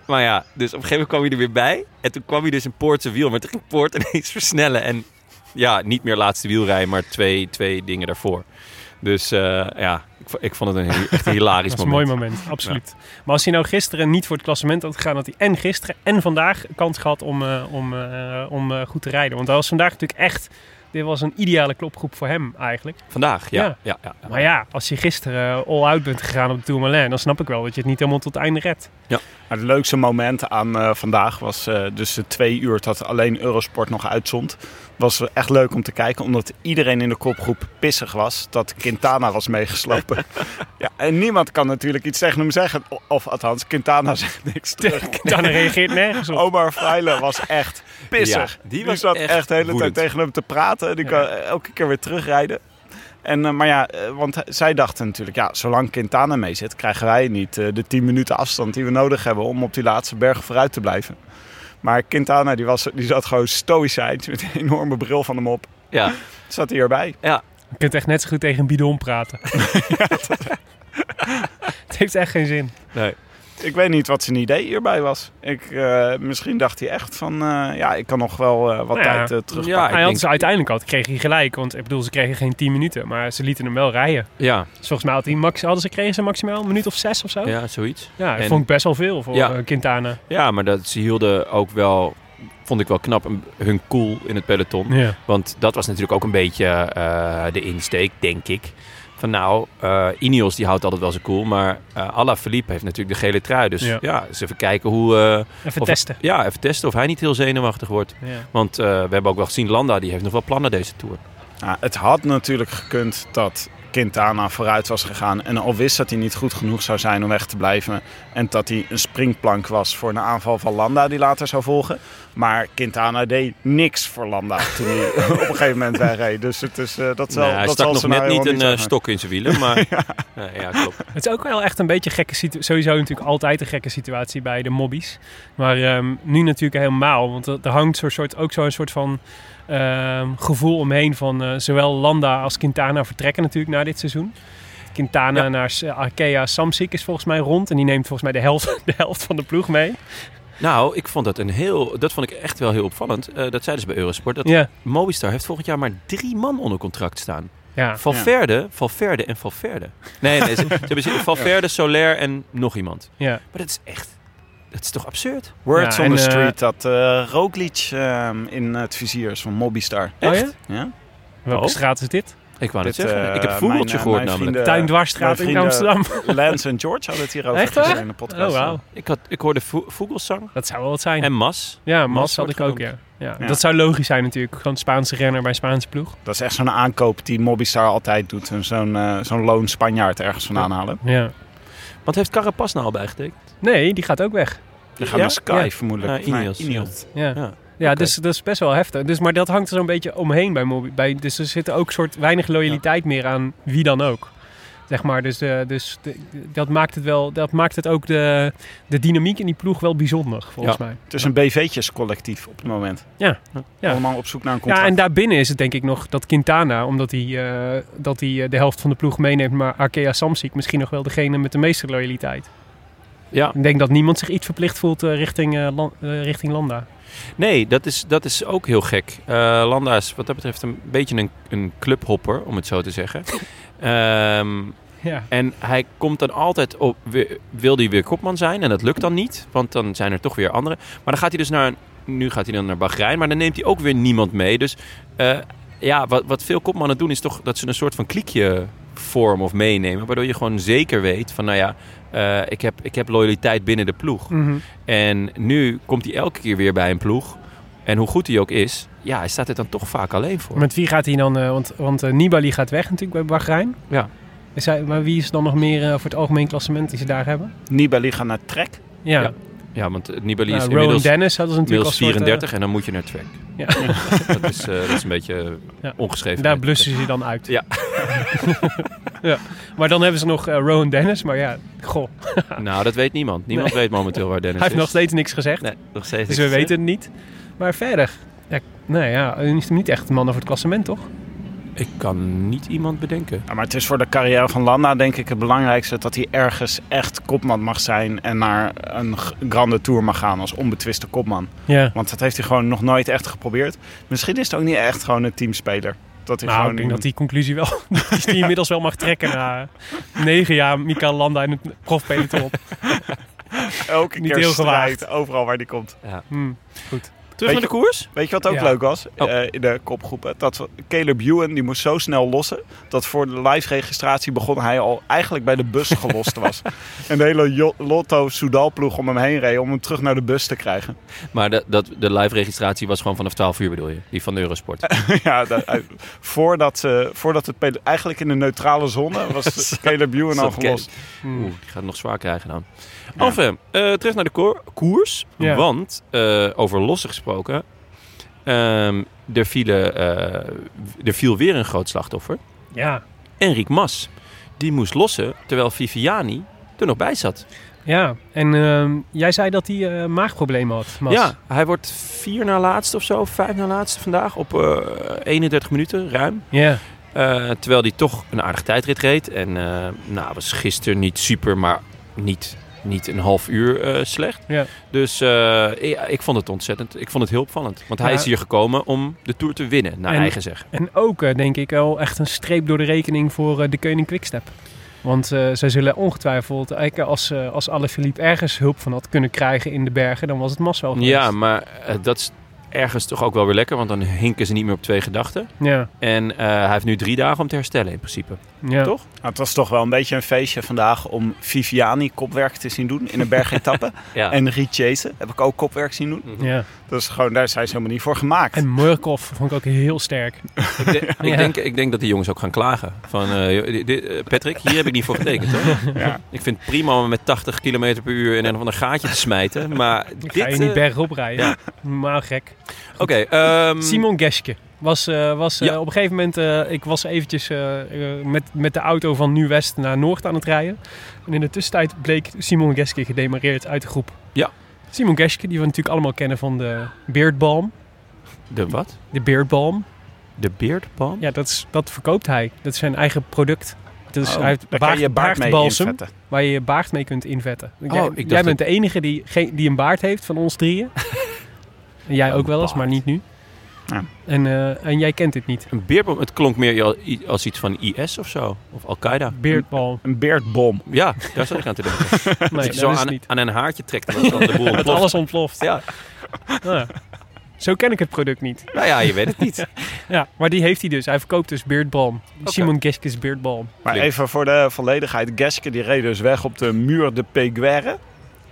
Maar ja, dus op een gegeven moment kwam hij er weer bij. En toen kwam hij dus in Poort zijn wiel. Maar toen ging Poort [laughs] ineens versnellen. En ja, niet meer laatste wielrij, maar twee, twee dingen daarvoor. Dus eh, ja, ik, vo- ik vond het een, heel- [laughs] echt een hilarisch
Dat was een
moment.
mooi moment, absoluut. Maar als hij nou gisteren niet voor het klassement had gegaan, had hij en gisteren en vandaag kans gehad om, eh, om, eh, om eh, goed te rijden. Want hij was vandaag natuurlijk echt, dit was een ideale klopgroep voor hem eigenlijk.
Vandaag, ja.
Ja.
ja. ja, ja.
Maar ja, als je gisteren eh, all-out bent gegaan op de Tourmalet, dan snap ik wel dat je het niet helemaal tot het einde redt.
Maar het leukste moment aan eh, vandaag was eh, dus de twee uur dat alleen Eurosport nog uitzond. Was echt leuk om te kijken, omdat iedereen in de kopgroep pissig was dat Quintana was meegeslopen. ja, en niemand kan natuurlijk iets tegen hem zeggen. O- Of althans, Quintana zegt niks terug.
[laughs] Dan reageert nergens
Oh.
op.
Omar Freile was echt pissig.
Ja, die
die,
was
zat
echt
echt, de hele
woedend.
tijd tegen hem te praten. Die
Ja.
kan eh, elke keer weer terugrijden. En, eh, maar ja, eh, want hij- zij dachten natuurlijk, ja, zolang Quintana mee zit, krijgen wij niet eh, de 10 minuten afstand die we nodig hebben om op die laatste berg vooruit te blijven. Maar Quintana, die, was, die zat gewoon stoïcijns met een enorme bril van hem op.
Ja,
Zat hij erbij.
Je kunt echt net zo goed tegen een
[laughs]
bidon praten. [laughs] Het heeft echt geen zin.
nee.
Ik weet niet wat zijn idee hierbij was. Ik, eh, misschien dacht hij echt van, eh, ja, ik kan nog wel eh, wat
Nou ja.
tijd eh, terugpakken.
Ja, ik
hij
denk-
had ze uiteindelijk had, kreeg hij gelijk. Want ik bedoel, ze kregen geen 10 minuten, maar ze lieten hem wel rijden.
ja,
Dus volgens mij had hij max, hadden ze, kregen ze maximaal een minuut of zes of zo. Ja,
ja, zoiets.
dat
En-
vond ik best wel veel voor
Ja.
eh, Quintana.
Ja, maar dat, ze hielden ook wel, vond ik wel knap, een- hun cool in het peloton.
Ja.
Want dat was natuurlijk ook een beetje eh, de insteek, denk ik. Van nou, eh Ineos die houdt altijd wel zijn cool, maar eh Alaphilippe heeft natuurlijk de gele trui. Dus ja,
Ja.
eens even kijken hoe... eh,
Even
of-
testen.
Ja, even testen of hij niet heel zenuwachtig wordt.
Ja.
Want eh, we hebben ook wel gezien, Landa die heeft nog wel plannen deze Tour.
Nou, het had natuurlijk gekund dat Quintana vooruit was gegaan en al wist dat hij niet goed genoeg zou zijn om weg te blijven. En dat hij een springplank was voor een aanval van Landa die later zou volgen. Maar Quintana deed niks voor Landa toen hij [laughs] op een gegeven moment wegreed. Dus het is, eh, dat zal,
Nee, Nou, hij
dat
stak
zal
nog net
scenario
niet een eh,
uitmaken.
stok in zijn wielen, maar... Nee, ja, klopt.
Het is ook wel echt een beetje gekke situatie. Sowieso natuurlijk altijd een gekke situatie bij de mobbies. Maar ehm, nu natuurlijk helemaal. Want er er hangt zo'n soort, ook zo'n soort van ehm, gevoel omheen van eh, zowel Landa als Quintana vertrekken natuurlijk na dit seizoen. Quintana [laughs] naar S- Arkea Samsic is volgens mij rond. En die neemt volgens mij de helft, de helft van de ploeg mee.
Nou, ik vond dat een heel. Dat vond ik echt wel heel opvallend. Eh, dat zeiden ze bij Eurosport. Dat
Ja,
Movistar heeft volgend jaar maar drie man onder contract staan.
ja.
Valverde, Valverde en Valverde. Nee, nee ze, ze hebben ze- Valverde, Soler en nog iemand.
ja.
Maar dat is echt... Dat is toch absurd?
Words
Ja,
on
en,
the
eh,
street dat eh Roglic ehm, in het vizier is van Mobbystar.
Echt?
Oh ja?
Ja?
Welke
Oh.
straat is dit?
Ik wou net
Dit,
zeggen.
eh,
ik heb vogeltje
mijn, eh,
gehoord
mijn
namelijk.
vrienden-
Tuindwarsstraat
mijn
in
vrienden
Amsterdam.
Lance en George hadden het hierover
Echt waar?
gisteren in de
Oh,
podcast.
wauw.
Ik, had, ik hoorde vo- vogelsang
Dat zou wel wat zijn.
en mas.
ja,
Mas
Mas had
wordt
ik ook, ja.
genoemd.
ja.
Ja.
Dat zou logisch zijn natuurlijk. Gewoon Spaanse renner bij Spaanse ploeg.
Dat is echt zo'n aankoop die Mobbystar altijd doet. En Zo'n eh, zo'n loon Spanjaard ergens vandaan halen.
Ja.
Want heeft Carapaz nou al bijgetekend?
Nee, die gaat ook weg.
Die gaan
Ja?
naar Sky
Ja. Ah,
vermoedelijk.
Naar
Nee,
Ineos,
Ja.
Ja.
Ja, dus dat is best wel heftig. Dus, maar dat hangt er zo'n beetje omheen bij Mobi. Bij, dus er zit ook soort weinig loyaliteit meer aan wie dan ook. Zeg maar, dus, eh, dus de- dat maakt het wel, dat maakt het ook de, de dynamiek in die ploeg wel bijzonder, volgens mij.
Het is een BV'tjes collectief op het moment.
Ja. Ja.
Allemaal op zoek naar een
Ja,
contract.
en daarbinnen is het denk ik nog dat Quintana, omdat hij, eh, dat hij eh, de helft van de ploeg meeneemt, maar Arkea Samsic misschien nog wel degene met de meeste loyaliteit.
Ja.
Ik denk dat niemand zich iets verplicht voelt eh, richting, eh, Lan- eh, richting Landa.
Nee, dat is, dat is ook heel gek. Eh, Landa is wat dat betreft een beetje een, een clubhopper, om het zo te
[laughs]
zeggen. Ehm,
Ja.
en hij komt dan altijd op, weer- wil hij weer kopman zijn en dat lukt dan niet, want dan zijn er toch weer anderen. Maar dan gaat hij dus naar, nu gaat hij dan naar Bahrein, maar dan neemt hij ook weer niemand mee. Dus eh, ja, wat, wat veel kopmannen doen is toch dat ze een soort van kliekje vormen of meenemen, waardoor je gewoon zeker weet van nou ja, eh, ik, heb, ik heb loyaliteit binnen de ploeg.
Mhm.
En nu komt hij elke keer weer bij een ploeg. En hoe goed hij ook is, ja, hij staat er dan toch vaak alleen voor.
Met wie gaat hij dan? eh, want want eh, Nibali gaat weg natuurlijk bij Bahrein.
Ja.
Is hij, maar wie is dan nog meer eh, voor het algemeen klassement die ze daar hebben?
Nibali gaat naar Trek.
Ja.
Ja, Ja, want eh, Nibali is
Nou, Rowan
inmiddels,
Dennis hadden ze natuurlijk al
inmiddels
soort, eh,
34 en dan moet je naar Trek.
Ja. [laughs]
dat, is, eh, dat is een beetje eh,
Ja.
ongeschreven.
daar blussen ze dan uit.
Ja.
[laughs] ja. Maar dan hebben ze nog eh, Rowan Dennis. Maar ja, goh, hij
Nou, dat weet niemand. Niemand weet momenteel waar Dennis
heeft
is.
nog steeds niks gezegd.
Nee, nog steeds
dus we
niks gezegd.
weten het niet. Maar verder. Ja, nou ja, hij is niet echt de man voor het klassement, toch?
Ik kan niet iemand bedenken.
Ja, maar het is voor de carrière van Landa denk ik het belangrijkste dat hij ergens echt kopman mag zijn en naar een g- grande tour mag gaan als onbetwiste kopman.
Ja.
Want dat heeft hij gewoon nog nooit echt geprobeerd. Misschien is het ook niet echt gewoon een teamspeler. Dat hij
Nou,
gewoon
ik denk dat
iemand-
die conclusie wel, [laughs]
[laughs]
die die inmiddels wel mag trekken na negen jaar Mika Landa in het
[laughs]
profpeloton.
elke
niet
keer
heel
strijdt
gewaagd.
overal waar die komt.
Hm.
Terug naar
Weet
de koers?
Weet je wat ook
Ja.
leuk was
Oh.
eh, in de kopgroepen? Dat we- Caleb Ewan die moest zo snel lossen dat voor de live registratie begon hij al eigenlijk bij de
[laughs]
bus gelost was. en de hele Jo- Lotto Soudal ploeg om hem heen reed om hem terug naar de bus te krijgen. [laughs]
Maar de, dat, de live registratie was gewoon vanaf 12 uur bedoel je? Die van de Eurosport.
Ja, dat- eh, voordat, ze, voordat het pele- eigenlijk in de neutrale zone
[laughs]
was Caleb Ewan al
Zat Caleb.
gelost.
Hmm.
Oeh, die gaat het nog zwaar krijgen dan. Enfin, eh, terug naar de koor- koers.
Ja.
Want, eh, over lossen gesproken... ehm, er, vielen, eh, w- er viel weer een groot slachtoffer.
Ja.
Enric Mas. Die moest lossen, terwijl Viviani er nog bij zat.
Ja, en ehm, jij zei dat hij eh, maagproblemen had, Mas.
Ja, hij wordt vier na laatste of zo, vijf na laatste vandaag op eh, 31 minuten, ruim.
Ja.
Eh, terwijl die toch een aardige tijdrit reed. En eh, nou, was gisteren niet super, maar niet, niet een half uur eh, slecht.
Ja.
Dus eh, ik, ik vond het ontzettend. Ik vond het heel opvallend. Want hij
Ja.
is hier gekomen om de Tour te winnen, naar
En-
eigen zeggen.
En ook, eh, denk ik, wel echt een streep door de rekening voor eh, de Koning Quickstep. Want eh, zij zullen ongetwijfeld, eigenlijk als, eh als Alaphilippe ergens hulp van had kunnen krijgen in de bergen, dan was het Mas wel geweest.
Ja, maar eh, dat is ergens toch ook wel weer lekker. Want dan hinken ze niet meer op twee gedachten.
ja,
En eh, hij heeft nu drie dagen om te herstellen in principe.
ja.
Toch?
Nou, het was toch wel een beetje een feestje vandaag om Viviani kopwerk te zien doen in een bergetappe.
[laughs] Ja. Hm.
En Riet Jason heb ik ook kopwerk zien doen.
Ja.
Dus gewoon, daar zijn ze helemaal niet voor gemaakt.
En Murkoff vond ik ook heel sterk.
ik, de- ik
Ja.
denk, ik denk dat die jongens ook gaan klagen. Van, eh, joh, dit- dit- eh, Patrick, hier heb ik niet voor getekend, hoor.
[laughs]
Ja.
Ik vind het prima om met 80 km per uur in een of ander gaatje te smijten.
[laughs]
Maar dit...
Ik ga je niet
eh,
bergop rijden. Maar gek.
Oké, ehm,
Mm.
Simon Geske. Was, eh, was, eh,
Ja.
Op een gegeven moment, eh, ik was eventjes eh, eh, met, met de auto van Nu-West naar Noord aan het rijden. En in de tussentijd bleek Simon Geske gedemareerd uit de groep.
Ja.
Simon Geske, die we natuurlijk allemaal kennen van de Beardbalm.
De wat?
De Beardbalm.
De beardbalm?
Ja, dat, is, dat verkoopt hij. Dat is zijn eigen product. Het dus
Oh,
hij heeft
daar kan
baard,
je baard mee
baardbalsem
inzetten.
waar je je baard mee kunt invetten. Want
Oh,
jij
ik dacht
jij
dat-
bent de enige die, geen, die een baard heeft van ons
[laughs]
drieën. en jij ook wel eens, maar niet nu.
Ja.
En, eh, en jij kent dit niet.
Een beerbom, het klonk meer al- i- als iets van IS of zo. Of Al-Qaeda.
Beardbal.
Een beardbom.
Ja, daar zat ik aan te denken.
[laughs] Nee,
Als je zo
dat is het
aan,
niet.
aan een haartje trekt, dan kan de boel
[laughs] Dat
ontploft.
alles ontploft.
Ja.
Ja. Zo ken ik het product niet.
Nou ja, je weet het niet.
[laughs] Ja, maar die heeft hij dus. Hij verkoopt dus beardbalm. Simon Geske's beardbalm.
Maar
Klinkt-
even voor de volledigheid. Geske die reed dus weg op de muur de Peguerre.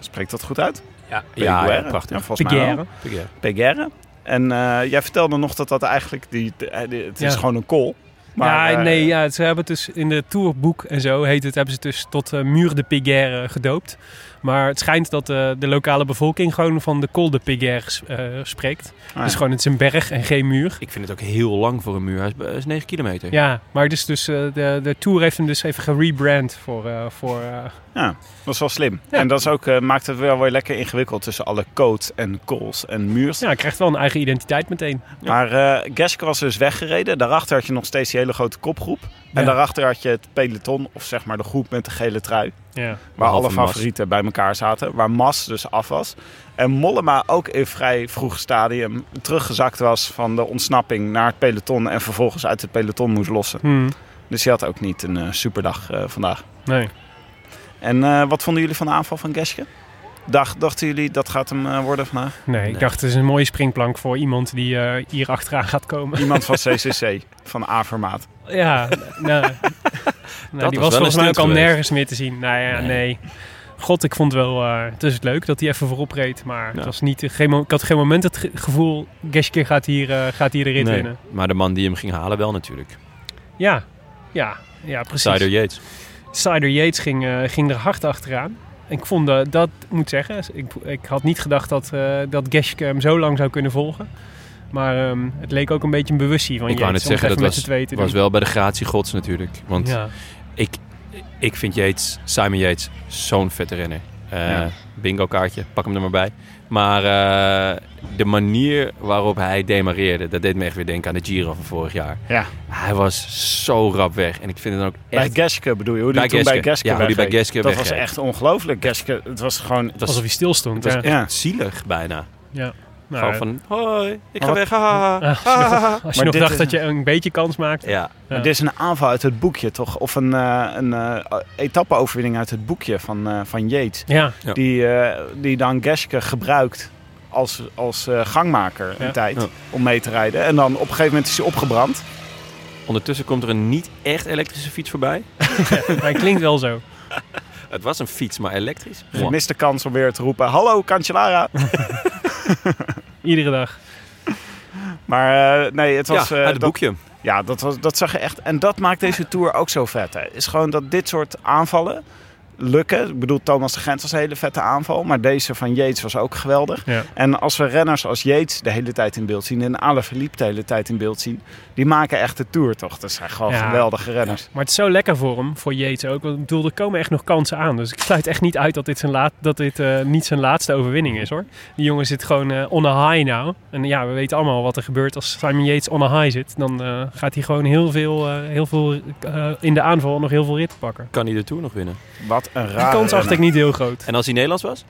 Spreekt dat goed uit?
Ja, ja, ja,
Peguère.
prachtig.
Ja, volgens mij wel.
Peguerre.
Peguère.
Peguerre. En eh, jij vertelde nog dat dat eigenlijk... Die, eh, die- het is
Ja.
gewoon een kool. Maar,
ja,
eh,
nee, ja, ze hebben het dus in de tourboek en zo heet het, hebben ze het dus tot eh Muur de Piguerre gedoopt. Maar het schijnt dat eh, de lokale bevolking gewoon van de Col de Piguerre s- eh, spreekt.
ah,
Dus gewoon het is een berg en geen muur.
Ik vind het ook heel lang voor een muur. Hij is, hij is 9 kilometer.
Ja, maar het is dus, eh, de, de tour heeft hem dus even gerebrand voor, eh, voor eh,
Dat is wel slim.
Ja.
En dat is ook, eh, maakt het wel weer lekker ingewikkeld tussen alle codes en calls en muurs.
ja, hij krijgt wel een eigen identiteit meteen.
Maar eh Geske was dus weggereden. Daarachter had je nog steeds die hele grote kopgroep. En
Ja.
daarachter had je het peloton, of zeg maar de groep met de gele trui.
Ja.
Waar
Behalve
alle
Mas.
favorieten bij elkaar zaten. Waar Mas dus af was. En Mollema ook in vrij vroeg stadium teruggezakt was van de ontsnapping naar het peloton. En vervolgens uit het peloton moest lossen.
Hmm,
Dus die had ook niet een eh, superdag eh, vandaag.
nee.
En eh, wat vonden jullie van de aanval van Geske? Dacht, dachten jullie dat gaat hem eh,
[laughs]
worden vandaag?
nee,
Nee.
ik dacht het is een mooie springplank voor iemand die eh, hier achteraan gaat komen.
Iemand van CCC, van A-formaat.
Ja, [laughs] nou, nou, die
was
was
wel
volgens
een
mij ook
stunt
al
geweest.
nergens meer te zien. Nou ja,
Nee.
nee. God, ik vond wel, eh, het is leuk dat hij even voorop reed, maar
Ja.
het was niet, geen, mo- ik had geen moment het ge- gevoel, Geske gaat hier, eh, gaat hier de rit
Nee,
winnen.
Maar de man die hem ging halen wel natuurlijk.
Ja, ja, ja, precies. Oh,
Sider
Sider,
Yates.
Yates ging, eh, ging er hard achteraan. Ik vond eh, dat, moet zeggen, ik, ik had niet gedacht dat, eh dat Geske hem zo lang zou kunnen volgen. Maar ehm, het leek ook een beetje een bewustzijn van
Ik wou
Yates
net zeggen,
om het even
dat was-
met z'n tweeën te
was
doen.
wel bij de gratie gods natuurlijk. Want
Ja.
ik, ik vind Yates, Simon Yates zo'n vette renner. Eh,
Ja.
Bingo kaartje, pak hem er maar bij. Maar eh, de manier waarop hij demareerde, dat deed me echt weer denken aan de Giro van vorig jaar.
Ja.
Hij was zo rap weg. En ik vind het dan ook echt...
Bij Geske bedoel je, hoe die
Bij
toen
Geske.
bij Geske
Ja, hoe die
wegreed.
bij Geske
Dat was
wegreed.
echt ongelooflijk. Geske, het was gewoon...
het was,
Alsof hij stilstond.
het was
ja.
echt
Ja.
zielig bijna.
Ja. Nou,
Gewoon van, hoi, ik ga
Maar
weg, haha.
eh, als je nog- als je
Maar
nog
dit
dacht
is-
dat je een beetje kans maakt.
Ja,
Maar Dit is een aanval uit het boekje, toch? Of een, eh een eh, etappe-overwinning uit het boekje van, eh, van Yates.
Ja,
Ja.
Die, eh, die dan Geske gebruikt als, als eh, gangmaker een
Ja.
tijd
Ja.
om mee te rijden. En dan op een gegeven moment is hij opgebrand.
ondertussen komt er een niet echt elektrische fiets voorbij.
maar hij klinkt wel zo.
Het was een fiets, maar elektrisch.
Dus mist de kans om weer te roepen, hallo
[laughs]
Cancellara.
Iedere dag.
maar eh, nee, het
Ja,
was... eh,
uit het
dat-
boekje.
Ja, dat, was, dat zag je echt. En dat maakt deze tour ook zo vet. Hè. Is gewoon dat dit soort aanvallen lukken. Ik bedoel, Thomas de Gent was een hele vette aanval. Maar deze van Yates was ook geweldig.
Ja.
En als we renners als Yates de hele tijd in beeld zien. En Alaphilippe de hele tijd in beeld zien. Die maken echt de tour toch? Dat zijn gewoon
Ja.
geweldige renners.
Maar het is zo lekker voor hem, voor Yates ook. Want ik bedoel, er komen echt nog kansen aan. Dus ik sluit echt niet uit dat dit, zijn laat, dat dit eh, niet zijn laatste overwinning is hoor. Die jongen zit gewoon eh, on a high nou. En ja, we weten allemaal wat er gebeurt als Simon Yates on a high zit. Dan eh, gaat hij gewoon heel veel, eh, heel veel eh, in de aanval nog heel veel ritten pakken.
Kan hij de Tour nog winnen?
Wat een
Die
raar.
kans acht ik niet heel groot.
En als hij Nederlands was?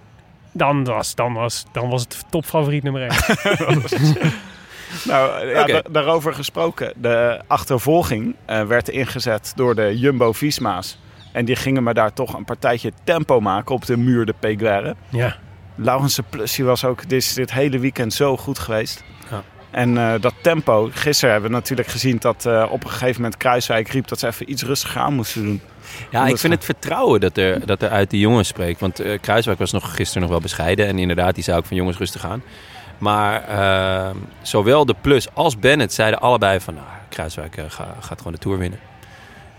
Dan was, dan was, dan was het topfavoriet nummer 1.
Nou, ja,
Oké.
da- daarover gesproken. De achtervolging eh, werd ingezet door de Jumbo-Visma's. En die gingen maar daar toch een partijtje tempo maken op de muur de Peguerre.
[laughs] ja.
Laurense Plus die was ook dit, is dit hele weekend zo goed geweest.
Ja.
En eh, dat tempo, gisteren hebben we natuurlijk gezien dat eh, op een gegeven moment Kruiswijk riep dat ze even iets rustiger aan moesten doen.
Ja, ik
Omdat-
vind het vertrouwen dat er, dat er uit die jongens spreekt. Want eh, Kruiswijk was nog gisteren nog wel bescheiden. En inderdaad, die zei ook van jongens rustig aan. Maar eh, zowel de Plus als Bennett zeiden allebei van... Nou, Kruiswijk eh, ga- gaat gewoon de Tour winnen.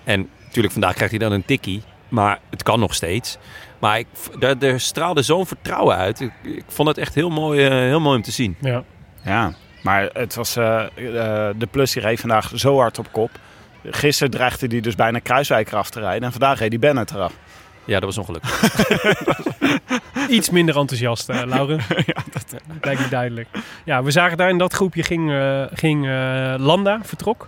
En natuurlijk, vandaag krijgt hij dan een tikkie. Maar het kan nog steeds. Maar ik, v- daar, er straalde zo'n vertrouwen uit. Ik, ik vond het echt heel mooi, eh, heel mooi om te zien.
ja.
Ja, maar het was, eh, eh, de Plus die reed vandaag zo hard op kop. Gisteren dreigde hij dus bijna Kruiswijk eraf te rijden. En vandaag reed hij Bennett eraf.
Ja, dat was [laughs] ongelukkig.
Iets minder enthousiast, eh Lauren. dat lijkt me duidelijk. Ja, we zagen daar in dat groepje ging, eh, ging eh, Landa, vertrok.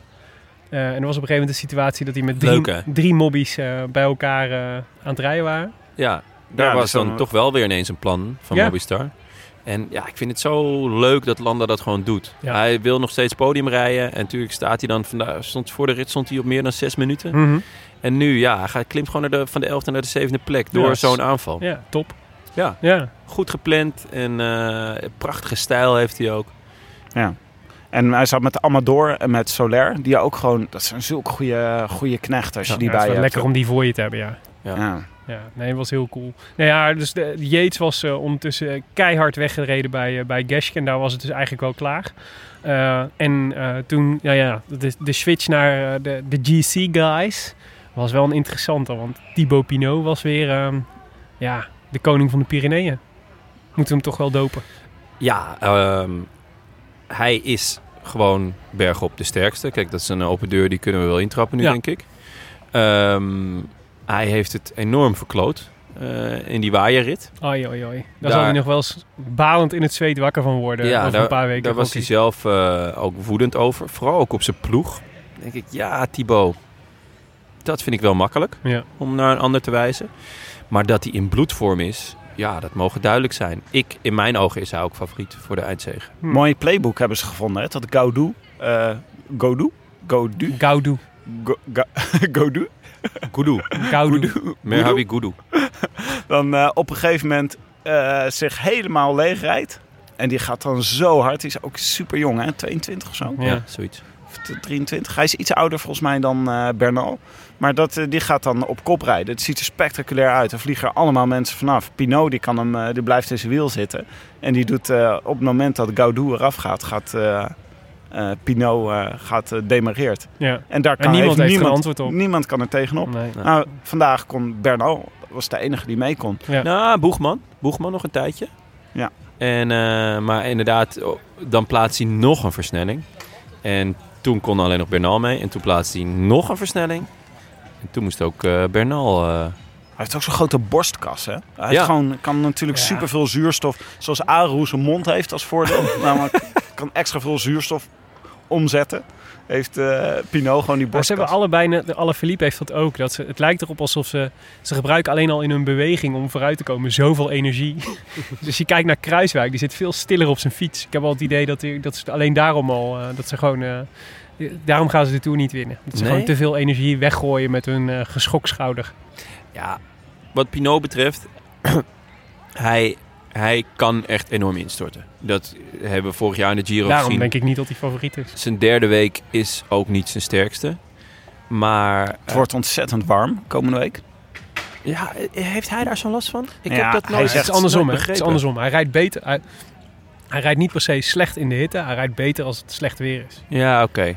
Eh, en er was op een gegeven moment de situatie dat hij met
Leuk,
drie,
hè?
drie mobbies eh, bij elkaar eh, aan het rijden waren.
Ja, daar
Ja,
was
dus
dan
dan-
toch wel weer ineens een plan van
Ja.
Mobistar. En ja, ik vind het zo leuk dat Landa dat gewoon doet.
Ja.
Hij wil nog steeds podium rijden. En natuurlijk staat hij dan vandaag, stond voor de rit stond hij op meer dan zes minuten.
Hm.
Mhm.
En nu, ja, hij gaat- klimt gewoon naar de, van de elfde naar de zevende plek door
Ja, s-
zo'n aanval.
Ja, top.
Ja.
ja.
Goed gepland en eh, prachtige stijl heeft hij ook.
En hij zat met Amador en met Soler. Die ook gewoon... Dat zijn zulke goede, goede knechten als je
Ja,
die
Ja, het is
bij
wel
je
lekker
hebt.
om die voor je te hebben, ja.
Ja.
Ja, nee, was heel cool. Nou ja, dus de, Yates was eh, ondertussen eh, keihard weggereden bij, eh, bij Geschke. En daar was het dus eigenlijk wel klaar. Eh, en eh, toen, ja, ja de, de switch naar eh, de, de GC guys was wel een interessante. Want Thibaut Pinot was weer ehm, ja, de koning van de Pyreneeën. Moeten we hem toch wel dopen.
Ja, ehm, hij is gewoon bergop de sterkste. Kijk, dat is een open deur, die kunnen we wel intrappen nu,
Ja.
denk ik. Ehm, hij heeft het enorm verkloot eh, in die waaierrit.
Oi, oi, oi. Daar,
Daar-
zal hij nog wel eens balend in het zweet wakker van worden.
Ja,
over
daar-
een paar weken.
Daar was hij
Gokkie.
zelf eh, ook woedend over. Vooral ook op zijn ploeg. Dan denk ik, ja, Thibaut, dat vind ik wel makkelijk
Ja.
om naar een ander te wijzen. Maar dat hij in bloedvorm is, ja, dat mogen duidelijk zijn. Ik, in mijn ogen, is hij ook favoriet voor de eindzege.
Hm.
Mooi playbook hebben ze gevonden. Hè? Dat Gaudu... eh Godu? Godu?
Gaudu.
Go- Ga- [laughs] Godu?
Kudu.
[laughs] Gaudu.
Merhabi Kudu.
dan eh, op een gegeven moment eh, zich helemaal leeg rijdt. En die gaat dan zo hard. Die is ook super jong, hè? 22 of zo.
Ja.
Ja, zoiets.
Of t- 23. Hij is iets ouder volgens mij dan eh, Bernal. Maar dat, eh, die gaat dan op kop rijden. Het ziet er spectaculair uit. Er vliegen er allemaal mensen vanaf. Pinot die kan hem, eh, die blijft in zijn wiel zitten. En die doet eh, op het moment dat Gaudu eraf gaat, gaat eh, eh, Pinot eh, gaat, eh, demareert.
Ja.
En daar kan
En niemand heeft er een
niemand,
antwoord op.
niemand kan er tegenop.
Nee.
Nou, vandaag kon Bernal, dat was de enige die mee kon.
Nou, Boegman. Boegman nog een tijdje.
Ja.
En, eh, maar inderdaad, oh, dan plaatst hij nog een versnelling. En toen kon alleen nog Bernal mee. En toen plaatste hij nog een versnelling. En toen moest ook eh, Bernal... eh,
Hij heeft ook zo'n grote borstkas, hè? Hij heeft
Ja.
gewoon, kan natuurlijk
Ja.
superveel zuurstof... Zoals Aru zijn mond heeft als
[laughs]
voordeel. namelijk kan extra veel zuurstof omzetten. Heeft eh Pinot gewoon die
Maar
borstkas.
ze hebben allebei, ne- de Alaphilippe heeft dat ook. Dat ze, het lijkt erop alsof ze, ze gebruiken alleen al in hun beweging om vooruit te komen zoveel energie.
[laughs]
dus je kijkt naar Kruiswijk, die zit veel stiller op zijn fiets. Ik heb al het idee dat, die, dat ze alleen daarom al, eh, dat ze gewoon, eh, daarom gaan ze de Tour niet winnen. Dat ze
Nee?
gewoon te veel energie weggooien met hun eh geschokschouder.
ja, wat Pinot betreft... [clears throat] hij, hij kan echt enorm instorten. Dat hebben we vorig jaar in de Giro
Daarom
gezien.
denk ik niet dat hij favoriet is.
Zijn derde week is ook niet zijn sterkste. Maar eh,
Het wordt ontzettend warm komende week.
ja, heeft hij daar zo'n last van? Ik
Ja,
heb dat
hij
nooit,
zegt-
het is andersom,
nooit
hè? Het is
begrepen.
andersom. Hij rijdt beter. Hij, hij rijdt niet per se slecht in de hitte. Hij rijdt beter als het slecht weer is.
Ja, oké.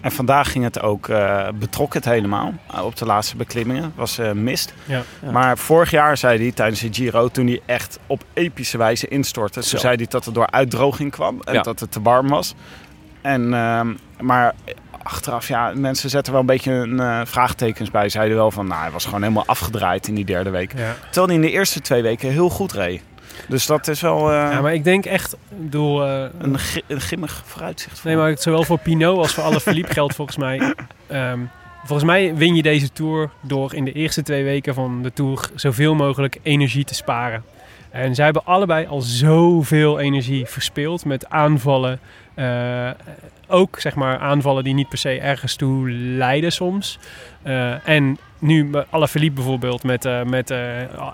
En vandaag ging het ook, eh betrok het helemaal. Eh, op de laatste beklimmingen was eh, mist.
Ja.
Ja.
Maar vorig jaar zei hij tijdens de Giro, toen hij echt op epische wijze instortte.
Zo.
Toen zei hij dat het door uitdroging kwam en
Ja.
dat het te warm was. En, ehm, maar achteraf, ja, mensen zetten wel een beetje een eh, vraagtekens bij. Zeiden wel van, nou, hij was gewoon helemaal afgedraaid in die derde week.
Ja.
Terwijl hij in de eerste twee weken heel goed reed. Dus dat is wel eh,
Ja, maar ik denk echt, ik bedoel, eh,
een, gi- een gimmig vooruitzicht. voor
nee, maar het zowel voor Pinot als voor alle Philippe geldt volgens mij. ehm, volgens mij win je deze tour door in de eerste twee weken van de tour zoveel mogelijk energie te sparen. En zij hebben allebei al zoveel energie verspeeld met aanvallen. eh, ook zeg maar aanvallen die niet per se ergens toe leiden soms. Eh, en nu alle verliep bijvoorbeeld met, eh, met, eh,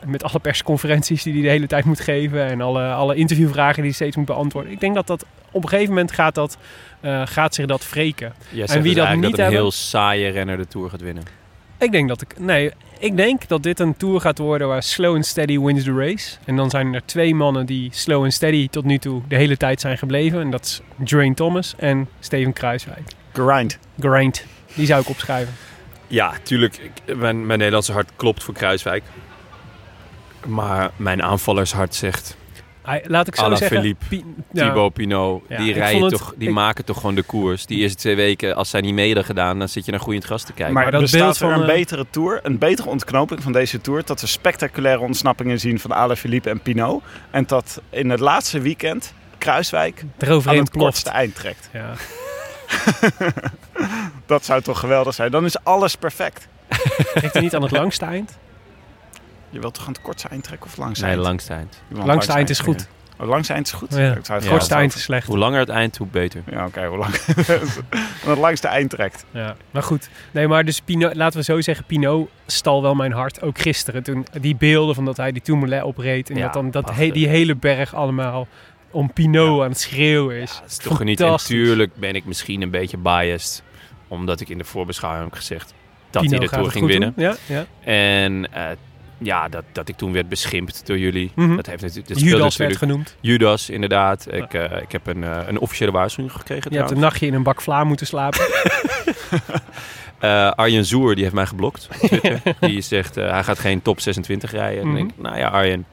met alle persconferenties die hij de hele tijd moet geven. En alle, alle interviewvragen die hij steeds moet beantwoorden. Ik denk dat dat op een gegeven moment gaat, dat, eh, gaat zich dat wreken.
Jij
zegt wie dus dat eigenlijk niet dat
dat een
een hebben-
heel
heel
saaie renner de Tour gaat winnen.
Ik denk dat ik. Nee, ik denk dat dit een tour gaat worden waar slow and steady wins the race. En dan zijn er twee mannen die slow and steady tot nu toe de hele tijd zijn gebleven. En dat is Drain Thomas en Steven Kruiswijk.
Grind.
Grind. Die zou ik opschrijven.
Ja, tuurlijk. ik- mijn, mijn Nederlandse hart klopt voor Kruiswijk. Maar mijn aanvallershart zegt
Hij, laat ik zo zeggen.
Alaphilippe,
Pi- ja,
Thibaut Pinot.
Ja,
die
ik
rijden
vond het-
toch, die
ik-
maken toch gewoon de koers. Die eerste twee weken, als zij niet mee hadden gedaan, dan zit je naar groeiend gras te kijken.
Maar,
Maar dat
bestaat
beeld
er
van,
een
eh,
betere tour, een betere ontknoping van deze tour, dat we spectaculaire ontsnappingen zien van Alaphilippe en Pinot, en dat in het laatste weekend Kruiswijk aan
eroverheen
het
ploft.
kortste eind trekt.
Ja.
dat zou toch geweldig zijn. Dan is alles perfect.
Ligt hij niet
[laughs]
aan het langste eind?
Je wilt toch aan het kortste eind trekken of langste
Nee,
eind?
langst eind.
Je wil
Langste
aan het
eind is goed.
trekken. Oh, langste eind is goed?
Ja.
Ik zou
Het
het
Ja,
kortste
gewoon-
eind is slecht.
Hoe langer het eind, hoe beter.
Ja, oké, hoe lang? [laughs] Aan het langste eind trekt.
Ja, maar goed. Nee, maar dus Pino, laten we zo zeggen, Pino stal wel mijn hart. Ook gisteren, toen die beelden van dat hij die Tourmalet opreed. En
Ja,
dat dan dat
prachtig.
he- die hele berg allemaal om Pino aan het schreeuwen is.
Dat is toch geniet. En
Fantastisch.
tuurlijk ben ik misschien een beetje biased. Omdat ik in de voorbeschouwing heb gezegd dat
Pino
hij de
gaat
Tour
het
ging
goed
winnen.
doen. Ja, ja.
En eh, ja, dat, dat ik toen werd beschimpt door jullie.
Mhm.
Dat heeft natuurlijk... dat speelde
Judas werd
natuurlijk-
genoemd.
Judas, inderdaad. Ik, eh, ik heb een, eh, een officiële waarschuwing gekregen
Je hebt
trouwens.
een nachtje in een bak vla moeten slapen.
Eh, Arjen Zoer, die heeft mij geblokt. op
[laughs]
Twitter. die zegt, eh, hij gaat geen top 26 rijden. En dan denk ik, nou ja, Arjen,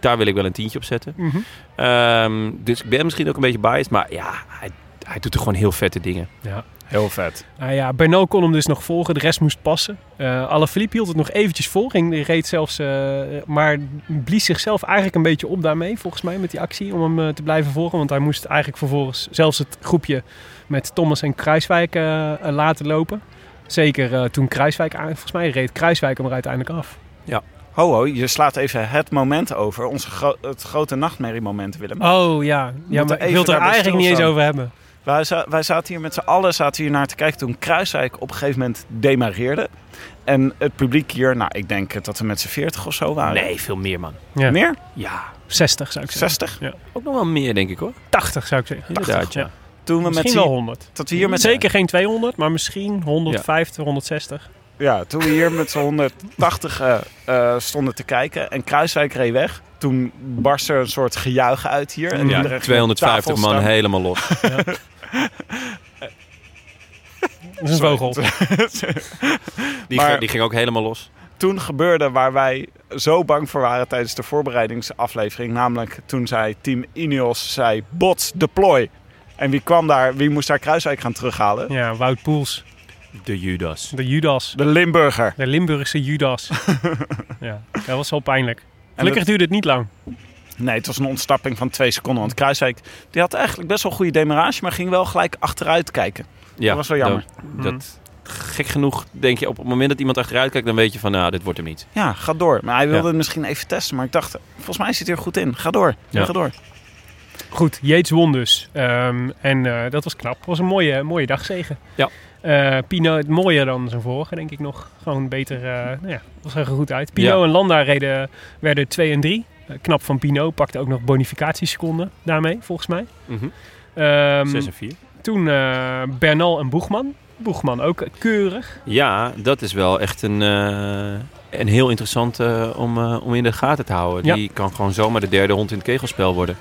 daar wil ik wel een tientje op zetten.
Mhm.
Ehm, dus ik ben misschien ook een beetje biased. Maar ja, hij, hij doet er gewoon heel vette dingen.
Heel vet.
Nou ja, Bernal kon hem dus nog volgen, de rest moest passen. Eh Alaphilippe hield het nog eventjes vol, ging, die reed zelfs, eh, maar blies zichzelf eigenlijk een beetje op daarmee, volgens mij, met die actie, om hem eh, te blijven volgen. Want hij moest eigenlijk vervolgens zelfs het groepje met Thomas en Kruiswijk eh, eh, laten lopen. Zeker eh, toen Kruiswijk, aan, volgens mij reed Kruiswijk hem er uiteindelijk af.
Ho, ho, je slaat even het moment over. Onze gro- het grote nachtmerriemoment, Willem.
Oh ja, ja maar
moeten
ik
even
wil het er
daarbij
eigenlijk niet eens
stilstaan.
over hebben.
Wij, za- wij zaten hier met z'n allen zaten hier naar te kijken toen Kruiswijk op een gegeven moment demareerde. En het publiek hier, nou, ik denk dat we met z'n 40 of zo
Ah,
waren.
Nee, veel meer, man.
Ja.
Meer?
Ja,
60 zou ik zeggen.
60?
ook nog wel meer, denk ik, hoor.
80 zou ik zeggen.
Inderdaad, ja.
Toen we
Misschien
met
wel
z'n-
100.
dat we hier met z'n-
Zeker geen 200, maar misschien 150, 160.
Ja, toen we hier met z'n 180 eh, eh, stonden te kijken en Kruiswijk reed weg. Toen barst er een soort gejuich uit hier. En
Ja,
iedereen ging
250
tafel
man
staan.
helemaal
[laughs]
los.
Dat is een vogel.
Die,
Maar-
ging, die ging ook helemaal los.
Toen gebeurde waar wij zo bang voor waren tijdens de voorbereidingsaflevering. Namelijk toen zei Team Ineos, zei bots deploy. En wie kwam daar, wie moest daar Kruiswijk gaan terughalen?
Ja, Wout Poels.
De Judas.
De Judas.
De Limburger.
De
[laughs]
Limburgse Judas. ja, dat was wel pijnlijk. Gelukkig
dat-
duurde het niet lang.
Nee, het was een ontstapping van twee seconden. Want Kruiswijk die had eigenlijk best wel een goede demarage, maar ging wel gelijk achteruit kijken.
Ja,
Dat was wel jammer.
Dat, dat- gek genoeg denk je, op het moment dat iemand achteruit kijkt, dan weet je van, nou, dit wordt hem niet.
Ja, ga door. Maar hij wilde
Ja.
het misschien even testen. Maar ik dacht, volgens mij zit hij er goed in. Ga door.
Ja.
Ga door.
Goed, Yates won dus. Ehm, en eh, dat was knap. Het was een mooie, mooie dagzegen.
Ja.
Eh, Pino, het mooier dan zijn vorige, denk ik nog. Gewoon beter, eh nou ja, was er goed uit. Pino
Ja.
en Landa reden, werden 2 en 3. knap van Pino, pakte ook nog bonificatieseconden daarmee, volgens mij. Ehm,
6 en 4.
toen eh, Bernal en Boegman. Boegman ook eh, keurig.
Ja, dat is wel echt een, eh, een heel interessant eh, om, eh, om in de gaten te houden.
Ja.
Die kan gewoon zomaar de derde hond in het kegelspel worden.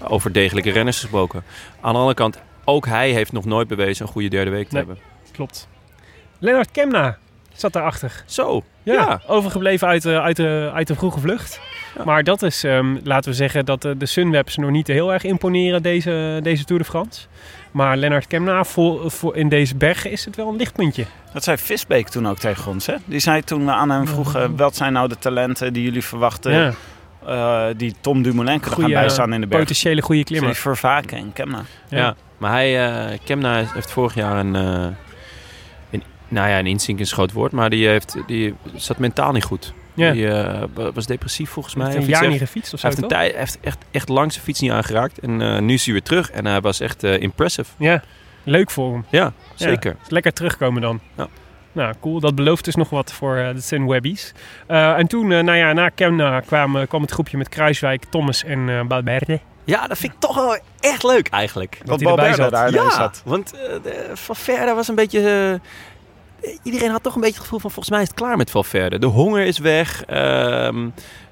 Over degelijke renners gesproken. Aan de andere kant, ook hij heeft nog nooit bewezen een goede derde week te
Nee.
hebben.
Klopt. Lennart Kemna zat daarachter.
Zo,
Ja,
ja.
overgebleven uit, de- uit, de, uit de vroege vlucht.
Ja.
Maar dat is, ehm, laten we zeggen, dat de, de Sunwebs nog niet heel erg imponeren deze, deze Tour de France. Maar Lennart Kemna, voor, voor in deze bergen is het wel een lichtpuntje.
Dat zei Visbeek toen ook tegen ons. Hè? Die zei toen we aan hem vroegen, wat zijn nou de talenten die jullie verwachten...
Ja,
eh, die Tom Dumoulin kunnen gaan
Goeie,
bijstaan in de berg.
potentiële goede
Voor
klimmer.
Vervaken en Kemna.
Ja. maar hij, eh Kemna heeft vorig jaar een, eh, een nou ja, een insink is een groot woord, maar die, heeft, die zat mentaal niet goed.
Ja.
Die eh, wa- was depressief volgens mij.
Heeft
of
een
iets
jaar
dergelijks.
niet gefietst of zo,
Hij heeft, een
toch?
tijd, hij heeft echt, echt lang zijn fiets niet aangeraakt. En eh, nu is hij weer terug. En hij was echt eh, impressive.
Ja, leuk voor hem.
Ja, zeker.
Dus lekker terugkomen dan.
Ja.
Nou, cool. Dat belooft dus nog wat voor eh, de Sunwebbies. Eh en toen, eh, nou ja, na Kemna kwam, eh, kwam het groepje met Kruiswijk, Thomas en eh Balberde.
Ja, dat vind ik toch wel echt leuk eigenlijk.
Dat
hij erbij
Balberde
zat.
daar
ja,
ineens zat.
want eh, de- Valverde was een beetje... eh, iedereen had toch een beetje het gevoel van... Volgens mij is het klaar met Valverde. De honger is weg. Ehm,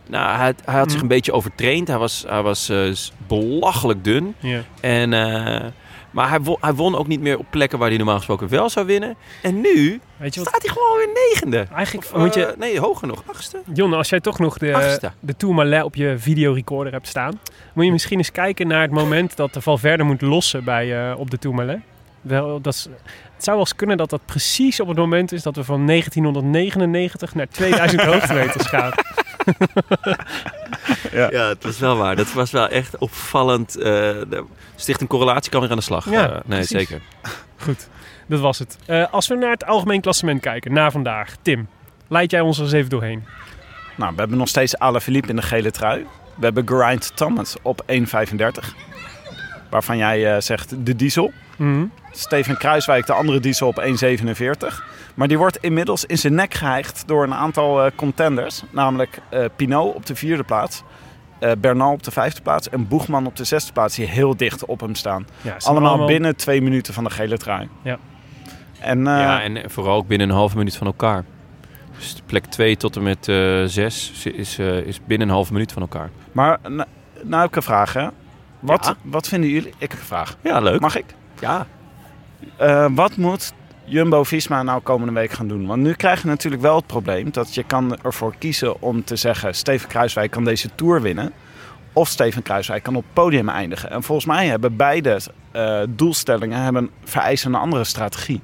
nou, hij, hij had zich
Mm.
een beetje overtraind. Hij was, hij was eh, s- belachelijk dun.
Ja.
En, eh, maar hij won, hij won ook niet meer op plekken waar hij normaal gesproken wel zou winnen. En nu
Weet je wat?
staat hij gewoon weer negende.
Eigenlijk,
Of,
want
eh,
je,
nee, hoger nog. Achtste.
Jon, als jij toch nog de,
Achtste.
de Tourmalet op je videorecorder hebt staan, moet je misschien eens kijken naar het moment dat de Valverde moet lossen bij, eh, op de Tourmalet. Wel, dat is, het zou wel eens kunnen dat dat precies op het moment is dat we van 1999 naar 2000 [laughs] hoogtemeters gaan.
Ja, dat is wel waar. Dat was wel echt opvallend. eh, de- sticht een correlatiekan weer aan de slag.
Ja,
Eh, nee,
precies.
zeker.
Goed, dat was het. Eh, als we naar het algemeen klassement kijken, na vandaag. Tim, leid jij ons er eens even doorheen.
Nou, we hebben nog steeds Alaphilippe in de gele trui. We hebben Grind Thomas op 1,35. Waarvan jij eh, zegt de diesel.
Mhm.
Steven Kruiswijk, de andere diesel, op 1,47. Maar die wordt inmiddels in zijn nek geheigd door een aantal eh, contenders. Namelijk eh Pinot op de vierde plaats. eh, Bernal op de vijfde plaats. En Boegman op de zesde plaats, die heel dicht op hem staan.
Ja, ze
Allemaal, binnen twee minuten van de gele trui.
Ja.
En, eh,
Ja, en vooral ook binnen een halve minuut van elkaar. Dus de plek 2 tot en met eh 6 is, eh, is binnen een halve minuut van elkaar.
Maar na- nou heb ik een vraag, hè. Wat,
Ja.
wat vinden jullie... Ik heb een vraag.
Ja, leuk.
Mag ik?
ja.
Eh, wat moet Jumbo-Visma nou komende week gaan doen? Want nu krijg je natuurlijk wel het probleem dat je kan ervoor kiezen om te zeggen... Steven Kruiswijk kan deze Tour winnen. Of Steven Kruiswijk kan op het podium eindigen. En volgens mij hebben beide eh, doelstellingen hebben, vereisen een andere strategie.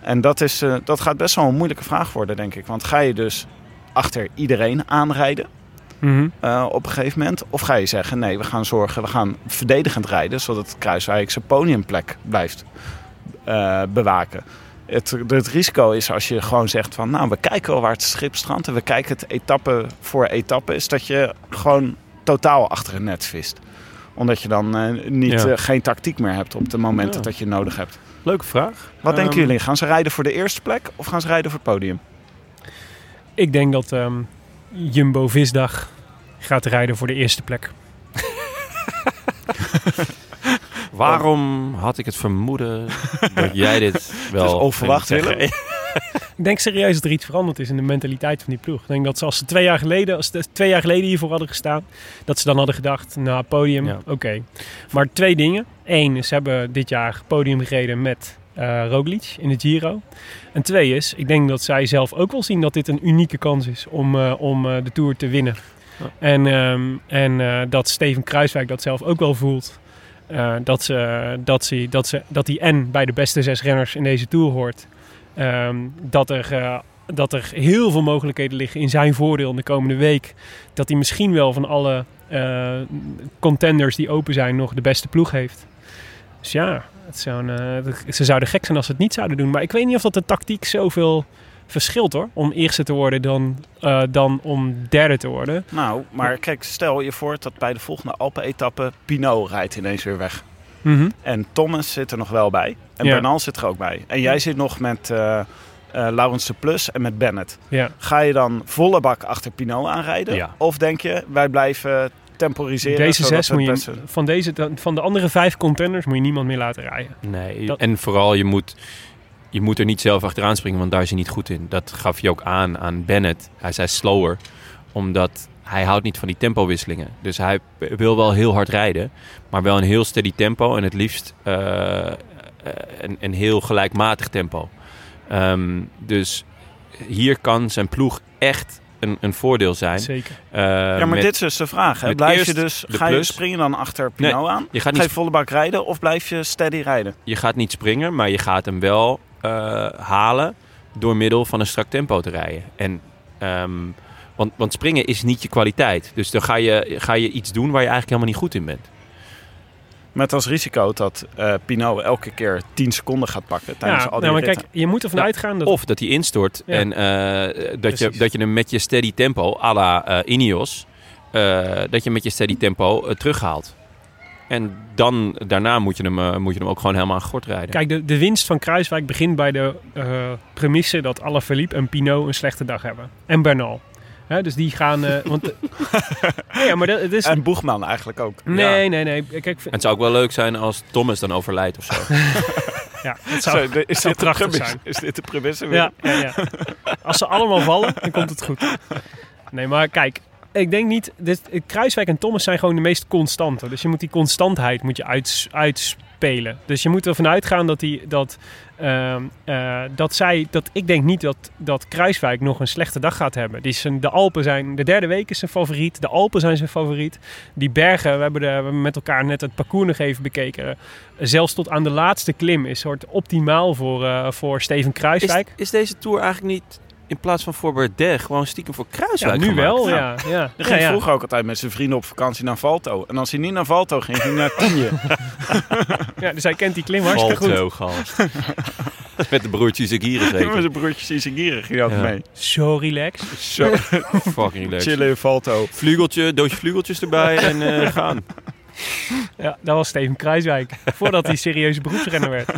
En dat, is, eh, dat gaat best wel een moeilijke vraag worden, denk ik. Want ga je dus achter iedereen aanrijden?
Mhm.
eh, op een gegeven moment? Of ga je zeggen, nee, we gaan zorgen, we gaan verdedigend rijden... zodat Kruiswijk zijn podiumplek blijft eh, bewaken. Het, het risico is als je gewoon zegt van... nou, we kijken wel waar het schip strandt... en we kijken het etappe voor etappe... is dat je gewoon totaal achter een net vist. Omdat je dan eh, niet,
Ja.
eh, geen tactiek meer hebt op de momenten
Ja.
dat je het nodig hebt.
Leuke vraag.
Wat
Ehm,
denken jullie? Gaan ze rijden voor de eerste plek of gaan ze rijden voor het podium?
Ik denk dat ehm, Jumbo Visdag gaat rijden voor de eerste plek.
Waarom had ik het [laughs] vermoeden dat jij dit wel...
Het is Dus onverwacht,
ging zeggen?
Ik denk serieus dat er iets veranderd is in de mentaliteit van die ploeg. Ik denk dat ze als ze twee jaar geleden, als ze twee jaar geleden hiervoor hadden gestaan, dat ze dan hadden gedacht, nou podium,
Ja.
oké. Maar twee dingen. Eén, is, ze hebben dit jaar podium gereden met eh Roglic in de Giro. En twee is, ik denk dat zij zelf ook wel zien dat dit een unieke kans is om, eh, om eh, de Tour te winnen.
Ja.
En, ehm, en eh, dat Steven Kruiswijk dat zelf ook wel voelt. eh, dat, ze, dat, ze, dat, ze, dat hij en bij de beste zes renners in deze Tour hoort. Ehm, dat, er, eh, dat er heel veel mogelijkheden liggen in zijn voordeel in de komende week. Dat hij misschien wel van alle eh, contenders die open zijn nog de beste ploeg heeft. Dus ja, het zou een, eh, ze zouden gek zijn als ze het niet zouden doen. Maar ik weet niet of dat de tactiek zoveel verschilt hoor. Om eerste te worden dan, eh, dan om derde te worden.
Nou, maar kijk, stel je voor dat bij de volgende Alpen-etappe... Pinot rijdt ineens weer weg. En Thomas zit er nog wel bij. En
Ja.
Bernal zit er ook bij. En jij zit nog met eh eh Laurens de Plus en met Bennett.
Ja.
Ga je dan volle bak achter Pinot aanrijden?
Ja.
Of denk je, wij blijven temporiseren?
Deze
zodat
zes
we het
moet je,
beste-
van, deze, van de andere vijf contenders moet je niemand meer laten rijden.
Nee,
Dat-
en vooral je moet, je moet er niet zelf achteraan springen, want daar is hij niet goed in. Dat gaf je ook aan aan Bennett. Hij zei slower, omdat hij houdt niet van die tempowisselingen. Dus hij wil wel heel hard rijden, maar wel een heel steady tempo en het liefst eh, eh, een, een heel gelijkmatig tempo. Ehm, dus hier kan zijn ploeg echt een, een voordeel zijn.
Zeker.
Eh,
Ja, maar
met-
dit is dus de vraag. Hè?
met
Blijf je
eerst
dus,
de
ga je,
Plus.
spring je dan achter Pinot aan?
je gaat
Ga
niet
je volle bak rijden of blijf je steady rijden?
je gaat niet springen, maar je gaat hem wel eh, halen door middel van een strak tempo te rijden. En, ehm, want, want springen is niet je kwaliteit. Dus dan ga je, ga je iets doen waar je eigenlijk helemaal niet goed in bent.
Met als risico dat eh Pinot elke keer 10 seconden gaat pakken tijdens
Ja,
al die
nou, maar
ritten.
kijk, je moet ervan
Ja.
uitgaan dat
Of dat hij instort
Ja.
en eh, dat, je,
Precies.
dat je hem met je steady tempo, à la eh, Ineos, eh, dat je met je steady tempo eh, terughaalt. En dan, daarna moet je, hem, eh, moet je hem ook gewoon helemaal aan gort rijden.
Kijk, de, de winst van Kruiswijk begint bij de eh, premisse dat Alaphilippe en Pinot een slechte dag hebben. En Bernal. Hè, dus die gaan... eh, want, nee, ja, maar dat, het is...
En Boegman eigenlijk ook.
nee, nee, nee. Kijk,
En het zou ook wel leuk zijn als Thomas dan overlijdt of zo.
ja, het
Zo,
zou,
de- [laughs] is,
zou
dit de
prachtig
premisse?
zijn.
is dit de premisse? weer?
ja, ja, ja. Als ze allemaal vallen, dan komt het goed. Nee, maar kijk. Ik denk niet... Dit, Kruiswijk en Thomas zijn gewoon de meest constante. Dus je moet die constantheid moet je uits, uitspelen. Dus je moet ervan uitgaan dat, die, dat, ehm, eh, dat zij... Dat, ik denk niet dat, dat Kruiswijk nog een slechte dag gaat hebben. Die zijn, de Alpen zijn... De derde week is zijn favoriet. De Alpen zijn zijn favoriet. Die bergen, we hebben, de, we hebben met elkaar net het parcours nog even bekeken. Zelfs tot aan de laatste klim is soort optimaal voor, eh, voor Steven
Is,
Kruiswijk.
is deze Tour eigenlijk niet in plaats van voor Bardet gewoon stiekem voor
Ja,
Kruiswijk
nu
gemaakt.
wel,
Nou,
ja. ja.
Dan
ja,
ging
ja.
vroeger ook altijd met zijn vrienden op vakantie naar Valto. En als hij niet naar Valto ging, ging hij naar [laughs] Tienje.
Ja, dus hij kent die klim hartstikke goed.
Valto,
[laughs]
gast. Dat is Met de broertjes ik hier
Met
gezeten.
zijn broertjes in zijn gieren ging hij altijd
Ja.
mee.
Zo relaxed.
Zo,
Fucking leuk.
[laughs] chillen in Valto.
Vlugeltje, doosje vlugeltjes
[laughs]
erbij en eh, gaan.
Ja, dat was Steven Kruiswijk. Voordat hij serieuze beroepsrenner werd.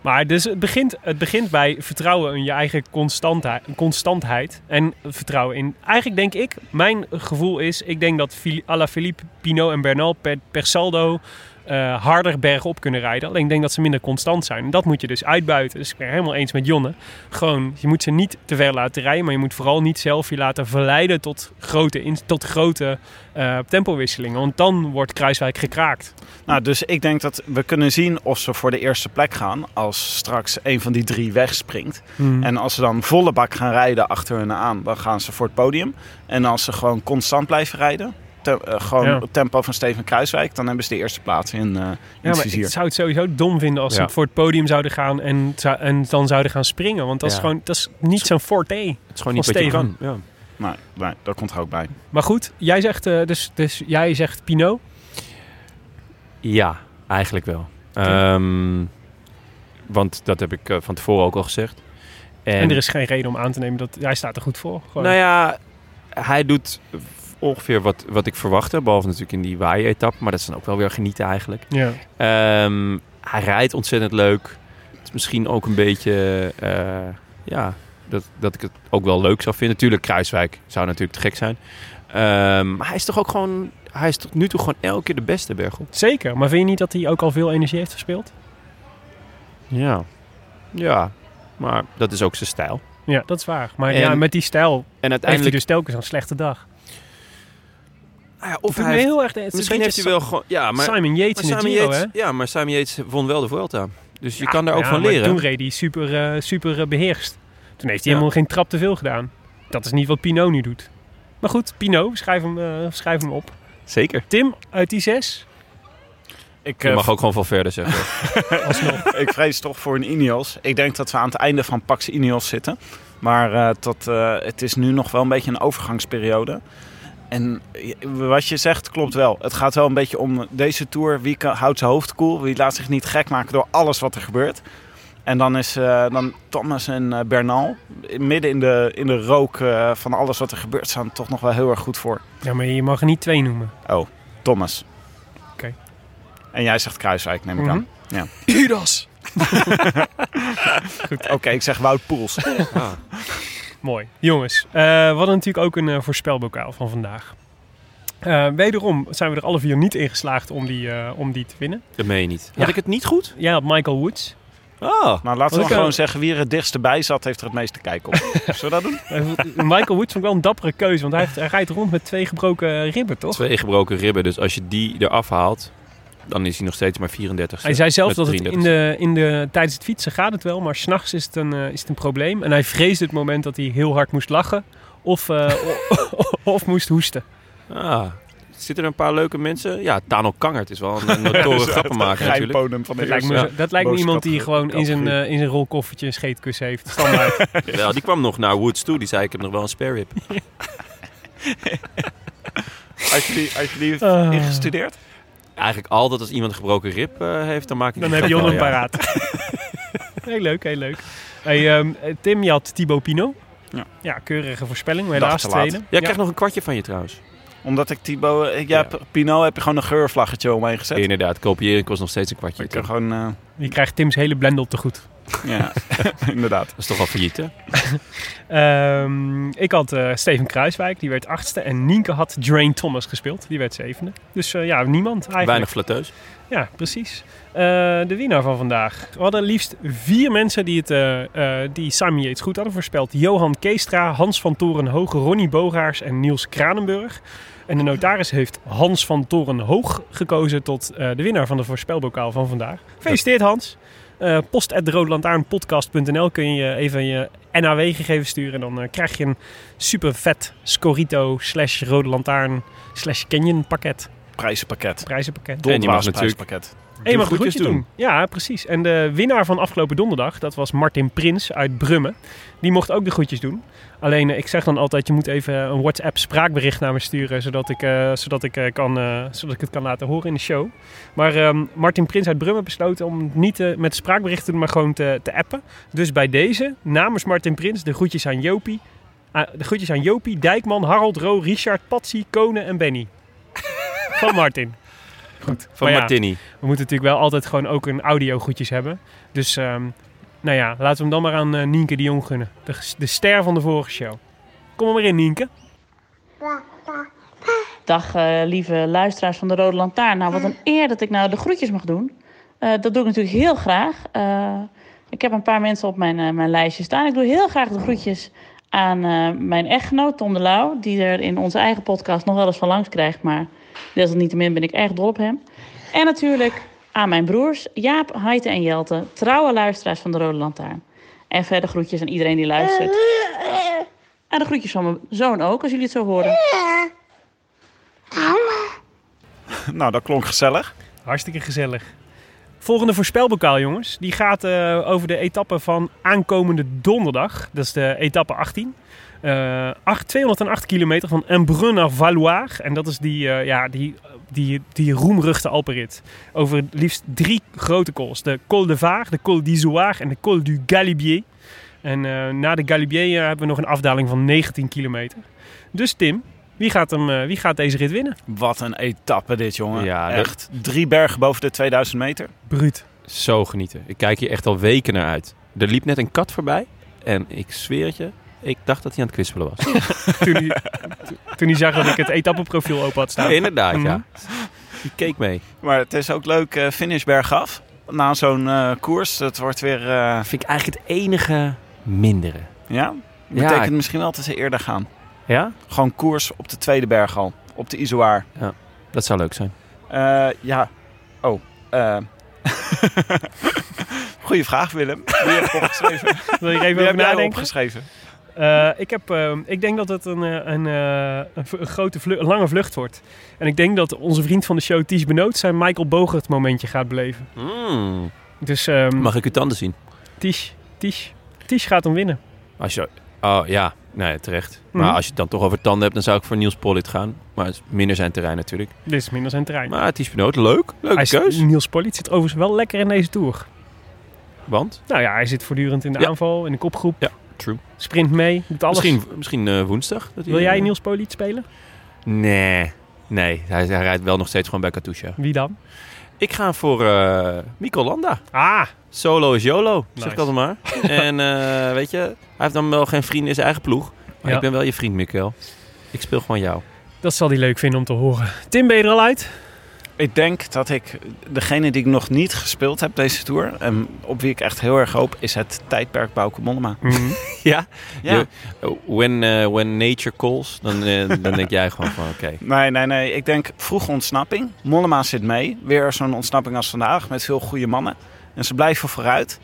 Maar dus het, begint, het begint bij vertrouwen in je eigen constanta- constantheid. En vertrouwen in... Eigenlijk denk ik, mijn gevoel is... Ik denk dat Fili- Alaphilippe, Pinot en Bernal per, per saldo... eh, harder bergop kunnen rijden. Alleen ik denk dat ze minder constant zijn. En dat moet je dus uitbuiten. Dus ik ben helemaal eens met Jonne. Gewoon, je moet ze niet te ver laten rijden. Maar je moet vooral niet zelf je laten verleiden tot grote, ins- tot grote eh, tempowisselingen. Want dan wordt Kruiswijk gekraakt.
Nou, dus ik denk dat we kunnen zien of ze voor de eerste plek gaan. Als straks een van die drie wegspringt. En als ze dan volle bak gaan rijden achter hun aan, dan gaan ze voor het podium. En als ze gewoon constant blijven rijden, te- eh, gewoon
Ja.
op het tempo van Steven Kruiswijk, dan hebben ze de eerste plaats in, eh, in
Ja,
het
maar
vizier.
ik zou het sowieso dom vinden als
Ja.
ze voor het podium zouden gaan en, zou- en dan zouden gaan springen. Want dat is
Ja.
gewoon dat is niet zo'n forte.
Het is gewoon niet
Van
wat je kan.
Steven.
Ja.
Maar, maar dat komt er ook bij.
Maar goed, jij zegt, eh, dus, dus jij zegt Pinot.
Ja, eigenlijk wel. Ehm, want dat heb ik eh, van tevoren ook al gezegd.
En, er is geen reden om aan te nemen dat hij staat er goed voor. Gewoon.
Nou ja, hij doet ongeveer wat, wat ik verwachtte. Behalve natuurlijk in die waaien-etappe. Maar dat is dan ook wel weer genieten eigenlijk.
ja.
Ehm, hij rijdt ontzettend leuk. Het is misschien ook een beetje... eh, ja, dat, dat ik het ook wel leuk zou vinden. Natuurlijk, Kruiswijk zou natuurlijk te gek zijn. Ehm, maar hij is toch ook gewoon... Hij is tot nu toe gewoon elke keer de beste bergop.
Zeker, maar vind je niet dat hij ook al veel energie heeft verspeeld?
Ja. Ja, maar dat is ook zijn stijl.
Ja, dat is waar. Maar
En
ja, met die stijl
En
heeft hij
uiteindelijk...
dus telkens een slechte dag.
Nou ja,
Ik
of hij
vind hem
heeft-
heel erg, het is een
misschien heeft
beetje
hij wel gewoon... Ja, maar
Simon Yates in
Maar
de
Simon
Giro, hè?
Yates- Ja, maar Simon Yates won wel de Vuelta. Dus je
Ja,
kan daar ook
ja,
van
maar
leren.
Toen reed hij super, eh, super eh, beheerst. Toen heeft hij
Ja.
helemaal geen trap te veel gedaan. Dat is niet wat Pino nu doet. Maar goed, Pino, schrijf hem, eh, schrijf hem op.
Zeker.
Tim uit die zes.
Ik,
Je
eh,
mag ook gewoon van verder
[laughs]
zeggen.
[laughs] ik vrees toch voor een Ineos. Ik denk dat we aan het einde van Pax Ineos zitten. Maar eh, tot, eh, het is nu nog wel een beetje een overgangsperiode. En je- wat je zegt klopt wel. Het gaat wel een beetje om deze Tour. Wie kan- houdt zijn hoofd koel? Wie laat zich niet gek maken door alles wat er gebeurt? En dan is eh, dan Thomas en eh, Bernal midden in de, in de rook eh, van alles wat er gebeurt... staan toch nog wel heel erg goed voor.
Ja, maar je mag er niet twee noemen.
Thomas.
Oké.
En jij zegt Kruiswijk, neem ik
Mhm.
aan. Ja.
[laughs]
Goed. Oké, ik zeg Wout Poels. Nou,
Mooi. Jongens, eh, we hadden natuurlijk ook een eh, voorspelbokaal van vandaag. Eh, wederom zijn we er alle vier niet in geslaagd om die, eh, om die te winnen.
Dat meen je niet. Had
Ja.
ik het niet goed?
Jij had Michael Woods.
Oh.
Nou, laten we
Want
dan
ik,
gewoon
eh,
zeggen wie er het dichtst bij zat, heeft er het meeste
[laughs]
kijk op. Zullen we dat doen?
Eh, [laughs] Michael Woods vond ik wel een dappere keuze, want hij, heeft, hij rijdt rond met twee gebroken ribben, toch?
Twee gebroken ribben. Dus als je die eraf haalt, dan is hij nog steeds maar 34.
Hij zei zelf
Met
dat het in
33.
de, in de, tijdens het fietsen gaat het wel, maar s'nachts is, het een, eh, is het een probleem. En hij vreesde het moment dat hij heel hard moest lachen of, eh, o- [laughs] of moest hoesten.
Ah. Zitten er een paar leuke mensen? Ja, Tano Kangert is wel een-
[laughs]
een notoren grappenmaker
Geheim
natuurlijk.
podium van de
Dat lijkt me,
eerste.
zo- dat lijkt me
boze
iemand die
categorie-
gewoon in zijn,
categorie.
eh, in zijn rolkoffertje een scheetkussen heeft. Standaard.
Wel, die kwam nog naar Woods toe. Die zei, ik heb nog wel een spare rib.
Als je die, als je die heeft
Ah.
ingestudeerd?
Eigenlijk altijd als iemand een gebroken rib eh, heeft, dan maak ik
Dan
die
heb je
grap
Jon
wel,
hem
ja.
paraat. [laughs] heel leuk, heel leuk. Hey, ehm, Tim, je had Thibaut Pinot.
Ja.
ja, keurige voorspelling.
Dag
Helaas
te laat.
tweede.
Jij krijgt nog een kwartje van je trouwens.
Omdat ik Thibaut... eh,
Ja.
Ja, P- Pinot heb je gewoon een geurvlaggetje omheen gezet.
Inderdaad, kopiëren kost nog steeds een kwartje.
Ik
toch?
heb gewoon... eh,
Je krijgt Tim's hele blendel te goed.
[laughs]
ja, [laughs] inderdaad.
Dat is toch al failliet, hè?
Ehm, ik had eh, Steven Kruiswijk, die werd achtste. En Nienke had Drain Thomas gespeeld, die werd zevende. Dus eh, ja, niemand eigenlijk.
Weinig flatteus.
Ja, precies. Eh, de winnaar van vandaag. We hadden liefst vier mensen die, het, eh, eh, die Simon Yates goed hadden voorspeld. Johan Keestra, Hans van Torenhoge, Ronnie Bogaars en Niels Kranenburg. En de notaris heeft Hans van Torenhoog gekozen tot eh, de winnaar van de voorspelbokaal van vandaag. Gefeliciteerd Hans. Eh post kun je even je NAW-gegevens sturen. En dan eh, krijg je een super vet Scorito slash Rode Lantaarn slash Canyon pakket.
prijzenpakket.
prijzenpakket.
En je mag
Doldwaas
natuurlijk-
prijzenpakket.
En je mag een
goedjes
groetje doen.
doen.
Ja, precies. En de winnaar van afgelopen donderdag, dat was Martin Prins uit Brummen. Die mocht ook de groetjes doen. Alleen eh, ik zeg dan altijd, je moet even eh, een WhatsApp spraakbericht naar me sturen, zodat ik, eh, zodat ik, eh, kan, eh, zodat ik het kan laten horen in de show. Maar ehm, Martin Prins uit Brummen besloot om niet eh, met spraakbericht te doen, maar gewoon te, te appen. Dus bij deze, namens Martin Prins, de groetjes aan Jopie. ah, de groetjes aan Jopie, Dijkman, Harold, Ro, Richard, Patsy, Kone en Benny. Van Martin. Goed.
Van
Maar ja,
Martini.
we moeten natuurlijk wel altijd gewoon ook een audio goedjes hebben. Dus ehm, nou ja, laten we hem dan maar aan eh, Nienke de Jong gunnen. De, ges- de ster van de vorige show. Kom er maar in, Nienke.
Dag eh, lieve luisteraars van de Rode Lantaarn. Nou, wat een eer dat ik nou de groetjes mag doen. Eh, dat doe ik natuurlijk heel graag. Eh, ik heb een paar mensen op mijn, eh, mijn lijstje staan. Ik doe heel graag de groetjes aan eh, mijn echtgenoot Tom de Lauw. Die er in onze eigen podcast nog wel eens van langs krijgt. Maar desalniettemin ben ik erg dol op hem. En natuurlijk aan mijn broers Jaap, Heite en Jelte. Trouwe luisteraars van de Rode Lantaarn. En verder groetjes aan iedereen die luistert. En de groetjes van mijn zoon ook, als jullie het zo horen.
Nou, dat klonk gezellig.
Hartstikke gezellig. Volgende voorspelbokaal, jongens. Die gaat eh, over de etappe van aankomende donderdag. Dat is de etappe 18. Eh, acht- 208 kilometer van Embrun naar Valoir. En dat is die, eh, ja, die, die, die roemruchte Alpenrit. Over liefst drie grote cols. De Col de Vaar, de Col d'Izoard en de Col du Galibier. En eh, na de Galibier eh, hebben we nog een afdaling van 19 kilometer. Dus Tim, wie gaat, hem, eh, wie gaat deze rit winnen?
Wat een etappe dit, jongen.
Ja, dat-
echt. Drie bergen boven de 2000 meter.
Bruut.
Zo genieten. Ik kijk hier echt al weken naar uit. Er liep net een kat voorbij. En ik zweer het je, ik dacht dat hij aan het kwispelen was.
toen, hij, toen hij zag dat ik het etappeprofiel open had staan.
Ja, inderdaad,
Mhm.
ja. Die keek mee.
Maar het is ook leuk, eh finish bergaf. Na zo'n eh, koers, het wordt weer... eh,
vind ik eigenlijk het enige mindere.
ja, betekent misschien wel dat ze eerder gaan.
Ja?
Gewoon koers op de tweede berg al. Op de Izoar.
Dat zou leuk zijn.
Eh, ja. Oh. eh. [laughs] Goeie vraag, Willem. Wie [laughs] heb je opgeschreven?
Wil je er even
Wie
over
heb jij
nadenken?
opgeschreven?
Eh, ik, heb, eh, ik denk dat het een, eh, een, eh, een, v- een grote vlu- een lange vlucht wordt. En ik denk dat onze vriend van de show, Ties Benoot, zijn Michael Bogert momentje gaat beleven. Dus ehm
Mag ik uw tanden zien?
Ties, Ties, Ties gaat hem winnen.
Als je... Oh ja, nee, terecht. Maar
Mhm.
als je het dan toch over tanden hebt, dan zou ik voor Niels Pollitt gaan. Maar het is minder zijn terrein natuurlijk.
Dit is minder zijn trein.
Maar het is benoot. Leuk. Leuke
Hij is- Mm.
keus.
Niels Polliet zit overigens wel lekker in deze tour.
Want?
Nou ja, hij zit voortdurend in de
Ja.
aanval, in de kopgroep.
Ja, true.
Sprint mee, doet alles.
Misschien, misschien eh, woensdag. dat hij-
Wil jij Niels Poliet spelen?
Nee. Nee, hij, hij rijdt wel nog steeds gewoon bij Katusha.
Wie dan?
Ik ga voor eh Mikko Landa.
Ah,
Solo is YOLO,
Nice.
zeg ik altijd maar. en eh, weet je, hij heeft dan wel geen vrienden in zijn eigen ploeg. Maar
Ja.
ik ben wel je vriend, Mikkel. Ik speel gewoon jou.
dat zal hij leuk vinden om te horen. Tim, ben je er al uit?
Ik denk dat ik degene die ik nog niet gespeeld heb deze tour... en op wie ik echt heel erg hoop, is het tijdperk Bauke Mollema.
Mm. Ja?
Ja.
Je- when, eh, when nature calls, dan, eh, dan denk jij gewoon van oké.
Nee, nee, nee. Ik denk vroege ontsnapping. Mollema zit mee. Weer zo'n ontsnapping als vandaag met veel goede mannen. En ze blijven vooruit.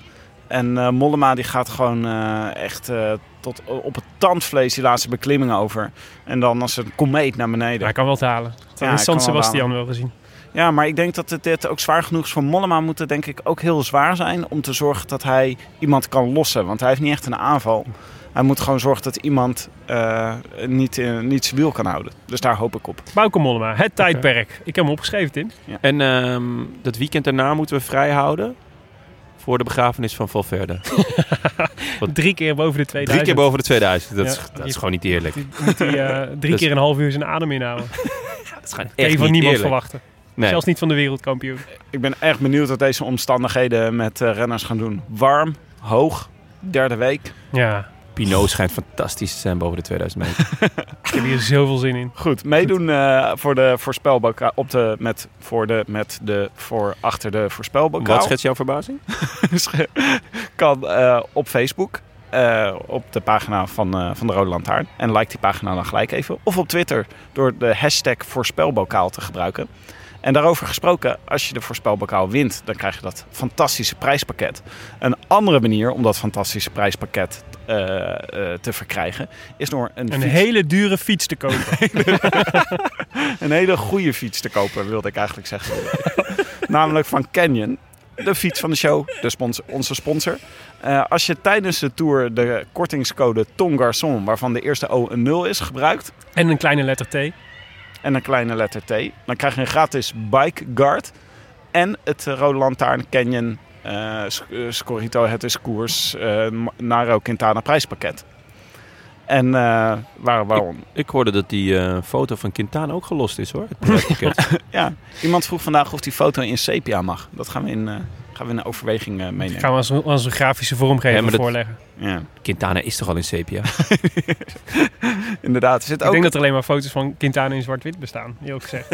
En eh, Mollema die gaat gewoon eh, echt eh, tot op het tandvlees die laatste beklimming over. En dan als een komeet naar beneden.
[laughs] hij kan wel talen. Dat
Ja,
hebben
hij
San
kan wel
Sebastian wel gezien.
Ja, maar ik denk dat het dit ook zwaar genoeg is voor Mollema. Moet het denk ik ook heel zwaar zijn om te zorgen dat hij iemand kan lossen. Want hij heeft niet echt een aanval. Hij moet gewoon zorgen dat iemand eh, niet, eh, niet zijn wiel kan houden. Dus daar hoop ik op.
Bauke Mollema, het tijdperk. Ik heb hem opgeschreven, Tim.
En ehm, dat weekend daarna moeten we vrij houden voor de begrafenis van Valverde.
Drie keer boven de 2000.
Drie keer boven de 2000. Dat, is,
Ja.
dat is gewoon niet eerlijk.
Moet hij
[laughs]
eh, drie
Dus-
keer een half uur zijn adem inhouden.
Dat is gewoon echt
Kan je
niet
van niemand
eerlijk.
verwachten.
Nee.
Zelfs niet van de wereldkampioen.
Ik ben echt benieuwd wat deze omstandigheden met eh, renners gaan doen. Warm, hoog, derde week.
Ja,
Pinot schijnt fantastisch te zijn boven de 2000 meter.
ik heb hier zoveel zin in.
Goed, meedoen eh, voor de voorspelbokaal. Op de, met, voor de, met de, voor achter de voorspelbokaal.
Wat schetst jouw verbazing?
[laughs] kan eh, op Facebook. eh, op de pagina van, eh, van de Rode Lantaarn. En like die pagina dan gelijk even. Of op Twitter door de hashtag voorspelbokaal te gebruiken. En daarover gesproken, als je de voorspelbokaal wint, dan krijg je dat fantastische prijspakket. Een andere manier om dat fantastische prijspakket eh, eh, te verkrijgen, is door een,
Een
fiets-
hele dure fiets te
[laughs]
kopen.
een hele goede fiets te kopen, wilde ik eigenlijk zeggen. [laughs] Namelijk van Canyon. De fiets van de show, de sponsor, onze sponsor. Eh, als je tijdens de tour de kortingscode TONGARSON, waarvan de eerste O een 0 is, gebruikt,
en een kleine letter T.
en een kleine letter T. Dan krijg je een gratis bike guard en het eh, Rode Lantaarn Canyon eh, Sc- eh, Scorrito Het is Koers eh, Ma- Naro Quintana prijspakket. En eh, waar, waarom?
Ik hoorde dat die eh, foto van Quintana ook gelost is hoor. Het [laughs] prijspakket.
Ja, iemand vroeg vandaag of die foto in sepia mag. Dat gaan we in, eh, gaan we in overweging eh,
Dat
meenemen.
gaan we als, een- als een grafische vormgever
Ja, maar dat-
voorleggen.
Ja,
Quintana is toch al in sepia?
inderdaad. Er zit
Ik
ook
denk dat er alleen maar foto's van Quintana in zwart-wit bestaan. Die ook gezegd.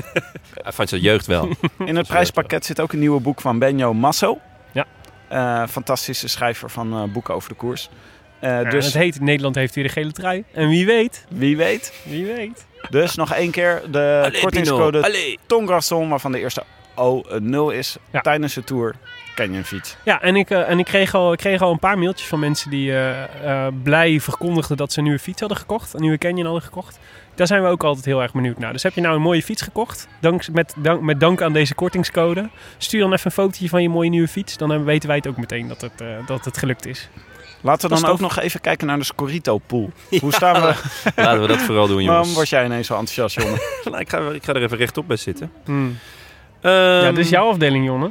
Eh, Van zijn jeugd
[laughs]
wel.
In het prijspakket zit ook een nieuwe boek van Benjo Masso.
Ja.
Eh, fantastische schrijver van eh, boeken over de koers. Eh,
Ja,
dus
Het heet Nederland heeft weer de gele trui. En wie weet,
wie weet.
wie weet.
Dus nog één keer de
Allee,
kortingscode
Pino, allee.
Tongarson, waarvan de eerste O een 0 is.
Ja.
Tijdens de tour ken je een fiets.
Ja, en ik, eh, en ik, kreeg, al, ik kreeg al een paar mailtjes van mensen die eh, eh, blij verkondigden dat ze een nieuwe fiets hadden gekocht. Een nieuwe Canyon hadden gekocht. Daar zijn we ook altijd heel erg benieuwd naar. Dus heb je nou een mooie fiets gekocht? Dank, met, dank, met dank aan deze kortingscode. Stuur dan even een fotootje van je mooie nieuwe fiets. Dan hebben- weten wij het ook meteen dat het, eh, dat het gelukt is.
Laten we
Dat is
dan ook
tof.
nog even kijken naar de Scorito [laughs] pool. Hoe staan we?
Laten we dat vooral doen
Waarom word
jongens.
jij ineens zo enthousiast, jongen?
[laughs] Nou, ik, ga, ik ga er even rechtop bij zitten.
ja,
Hmm. Ehm,
dit is jouw afdeling, Jonne.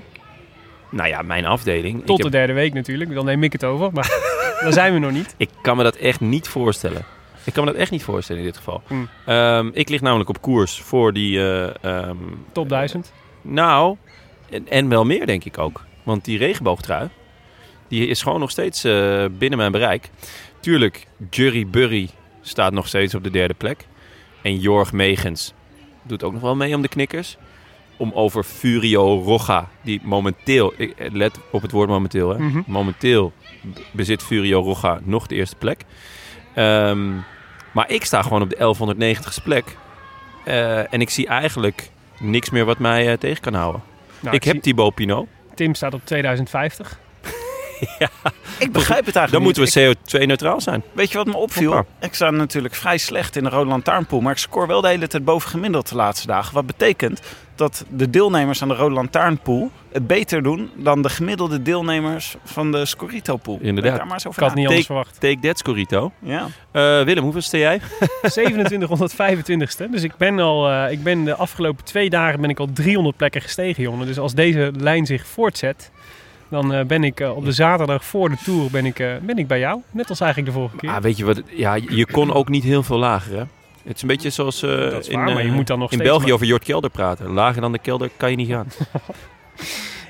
Nou ja, mijn afdeling.
Tot
ik,
de derde week natuurlijk. Dan neem ik het over.
[laughs]
Maar daar zijn we nog niet.
ik kan me dat echt niet voorstellen. Ik kan me dat echt niet voorstellen in dit geval.
Hmm.
Ehm, ik lig namelijk op koers voor die... eh, ehm,
Top 1000.
Nou, en, en wel meer denk ik ook. Want die regenboogtrui, die is gewoon nog steeds eh, binnen mijn bereik. Tuurlijk, Jury Burry staat nog steeds op de derde plek. En Jorg Megens doet ook nog wel mee om de knikkers. Om over Furio Rocha, die momenteel, ik- eh, let op het woord momenteel, hè.
Mhm.
momenteel b- bezit Furio Rocha nog de eerste plek. Ehm, maar ik sta gewoon op de 1190ste plek. Eh, en ik zie eigenlijk niks meer wat mij eh, tegen kan houden.
Nou,
ik heb Thibaut Pinot.
Tim staat op 2050.
[laughs] Ik begrijp het eigenlijk
Dan moeten
niet.
we CO2-neutraal zijn.
Ik- weet je wat me opviel?
Hoppa.
Ik sta natuurlijk vrij slecht in de Rode Lantaarnpool. Maar ik scoor wel de hele tijd bovengemiddeld de laatste dagen. Wat betekent dat de deelnemers aan de Rode Lantaarnpool het beter doen... dan de gemiddelde deelnemers van de Scorito pool.
Inderdaad.
Denk daar maar eens over
Ik had het
na.
niet
Take-
anders verwacht.
Take that, Scorito.
Ja.
Eh, Willem, hoeveel sta jij?
2725ste. Dus ik ben al, eh, ik ben de afgelopen twee dagen ben ik al 300 plekken gestegen, jongen. Dus als deze lijn zich voortzet, dan eh, ben ik eh, op de zaterdag voor de tour ben ik, eh, ben ik bij jou. Net als eigenlijk de vorige keer.
Ah, weet je wat? Ja, je kon ook niet heel veel lager, hè? Het is een beetje zoals eh,
Dat is
in,
waar, maar je
eh,
moet dan nog
in
steeds
België
maar-
over Jort Kelder praten. Lager dan de kelder kan je niet gaan.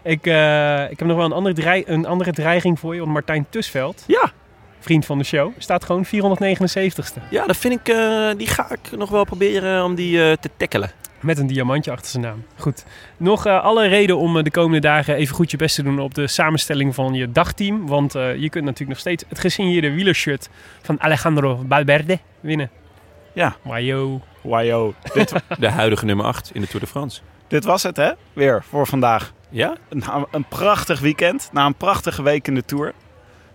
Ik, eh, ik heb nog wel een andere, drei- een andere dreiging voor je. Want Martijn Tusveld,
Ja,
vriend van de show, staat gewoon 479ste.
ja dat vind ik, eh, die ga ik nog wel proberen om die eh, te tackelen.
Met een diamantje achter zijn naam. Goed. Nog eh, alle reden om eh, de komende dagen even goed je best te doen op de samenstelling van je dagteam. Want eh, je kunt natuurlijk nog steeds het gesigneerde wielershirt van Alejandro Valverde winnen.
Ja.
Maar yo.
Wajo. Dit,
De huidige nummer 8 in de Tour de France.
dit was het, hè? Weer voor vandaag.
Ja?
Na een prachtig weekend, na een prachtige week in de Tour.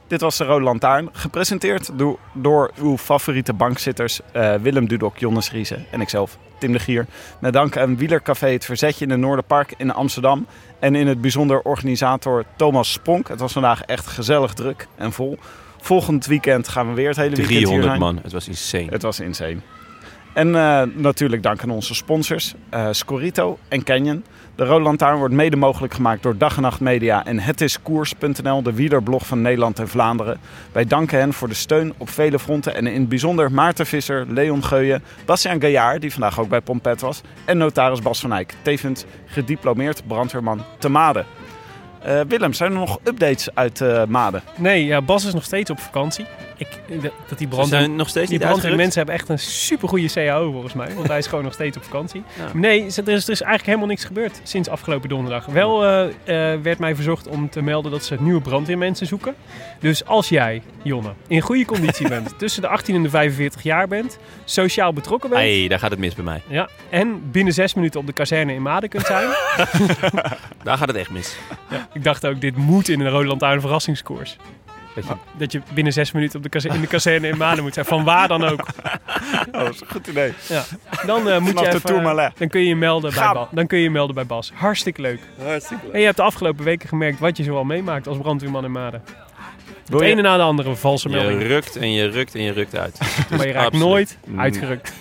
Dit was de Rode Lantaarn, gepresenteerd door, door uw favoriete bankzitters eh, Willem Dudok, Jonas Riese en ikzelf, Tim de Gier. Met dank aan Wielercafé Het Verzetje in het Noorderpark in Amsterdam. En in het bijzonder organisator Thomas Sponk. Het was vandaag echt gezellig druk en vol. Volgend weekend gaan we weer het hele weekend hier
300
zijn.
man. Het was insane.
Het was insane. En eh, natuurlijk dank aan onze sponsors, eh Scorito en Canyon. De Rode Lantaarn wordt mede mogelijk gemaakt door Dag en Nacht Media en hetiskoers.nl, de wielerblog van Nederland en Vlaanderen. Wij danken hen voor de steun op vele fronten en in het bijzonder Maarten Visser, Leon Geuyen, Bastiaan Gaillard, die vandaag ook bij Pompet was, en notaris Bas van Eyck, tevens gediplomeerd brandweerman te Maden. Eh, Willem, zijn er nog updates uit eh Maden?
Nee, ja, Bas is nog steeds op vakantie. Ik, eh, dat die
Ze
brand.
zijn nog steeds
Die
niet uitgerukt.
brandweermensen hebben echt een supergoeie CAO volgens mij. Want hij is gewoon nog steeds op vakantie.
[laughs] Ja.
Maar Nee, ze- er is, er is eigenlijk helemaal niks gebeurd sinds afgelopen donderdag. Wel eh, eh, werd mij verzocht om te melden dat ze nieuwe brandweermensen zoeken. Dus als jij, Jonne, in goede
[laughs]
conditie bent, tussen de 18 en de 45 jaar bent, sociaal betrokken bent...
Hey, daar gaat het mis bij mij.
Ja, en binnen zes minuten op de kazerne in Maden kunt
[laughs]
zijn.
Daar gaat het echt mis.
Ik dacht ook, dit moet in een Rode Lantaarn verrassingskoers.
Dat je-
Oh,
Dat je binnen zes minuten op de kaze- in de kazerne in Manen moet zijn. Van waar dan ook.
Oh, dat is een goed idee.
Ja. Dan eh, moet
Vanaf
je
de
even,
Tourmalet.
Dan kun je je melden bij
Gaan.
Bas. Dan kun je je melden bij Bas. Hartstikke leuk.
Hartstikke leuk.
En je hebt de afgelopen weken gemerkt wat je zoal meemaakt als brandweerman in Maden.
Wil
Het
je-
ene na de andere valse
je
melding.
rukt en je rukt en je rukt uit.
Maar je raakt
absoluut
nooit
niet.
uitgerukt.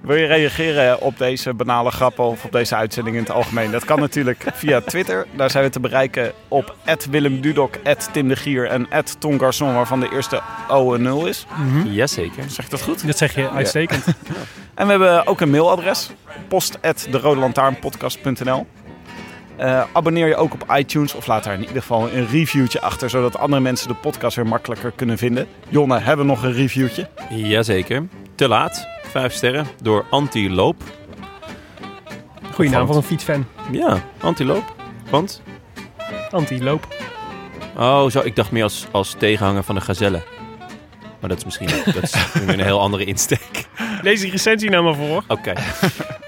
Wil je reageren op deze banale grappen of op deze uitzending in het algemeen? Dat kan natuurlijk via Twitter. Daar zijn we te bereiken op Willem Dudok, Tim de Gier en Tom Garçon, waarvan de eerste O een 0 is.
Hm? Jazeker.
Zeg ik dat goed?
Dat zeg je uitstekend.
En we hebben ook een mailadres: post.derodelantaarnpodcast.nl. Eh, abonneer je ook op iTunes of laat daar in ieder geval een reviewtje achter, zodat andere mensen de podcast weer makkelijker kunnen vinden. Jonne, hebben we nog een reviewtje?
Jazeker. Te laat. Vijf sterren door Antiloop.
Goeie naam voor een fietsfan.
Ja, Antiloop. Want?
Anti-loop.
Oh, zo, ik dacht meer als, als tegenhanger van de gazelle. Maar dat is misschien [laughs] dat is weer een heel andere insteek.
Lees die recensie nou maar voor.
Oké. [laughs]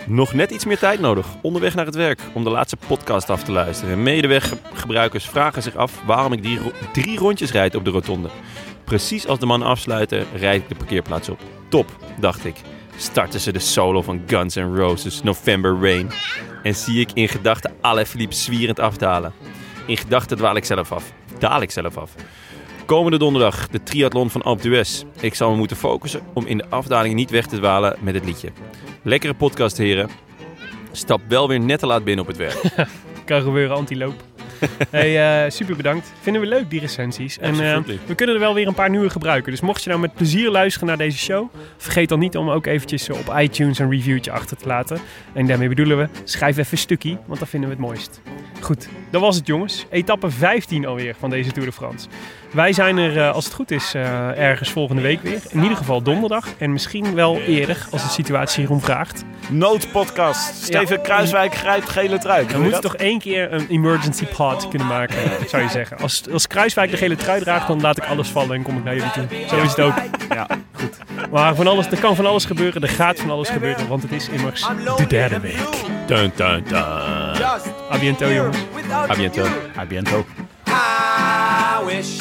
Nog net iets meer tijd nodig onderweg naar het werk om de laatste podcast af te luisteren. Medeweggebruikers vragen zich af waarom ik die ro- drie rondjes rijd op de rotonde. Precies als de man afsluiten, rijd ik de parkeerplaats op. Top, dacht ik. Starten ze de solo van Guns N' Roses, November Rain. En zie ik in gedachten Alaphilippe zwierend afdalen. In gedachten dwaal ik zelf af. Daal ik zelf af. Komende donderdag de triathlon van Alpe d'Huez. Ik zal me moeten focussen om in de afdaling niet weg te dwalen met het liedje. Lekkere podcast, heren. Stap wel weer net te laat binnen op het werk.
Kan gebeuren, anti-loop. hey, eh, super bedankt. Vinden we leuk, die recensies. En eh,
Absolutely.
we kunnen er wel weer een paar nieuwe gebruiken. Dus mocht je nou met plezier luisteren naar deze show... vergeet dan niet om ook eventjes eh, op iTunes een reviewtje achter te laten. En daarmee bedoelen we, schrijf even een stukje, want dat vinden we het mooist. Goed, dat was het jongens. Etappe 15 alweer van deze Tour de France. Wij zijn er, eh, als het goed is, eh, ergens volgende week weer. In ieder geval donderdag. En misschien wel eerder, als de situatie hierom vraagt.
Noodpodcast. Steven Kruiswijk grijpt gele trui. Doe
We
je
moeten
dat?
toch één keer een emergency pod kunnen maken, zou je zeggen. Als, als Kruiswijk de gele trui draagt, dan laat ik alles vallen en kom ik naar jullie toe. Zo is het ook.
Ja.
Maar van alles, er kan van alles gebeuren, er gaat van alles gebeuren, want het is immers
er
de derde week.
Dun, dun, dun.
Just
A bientôt, jongens.
without
A bientôt.
you.
A bientôt.
I wish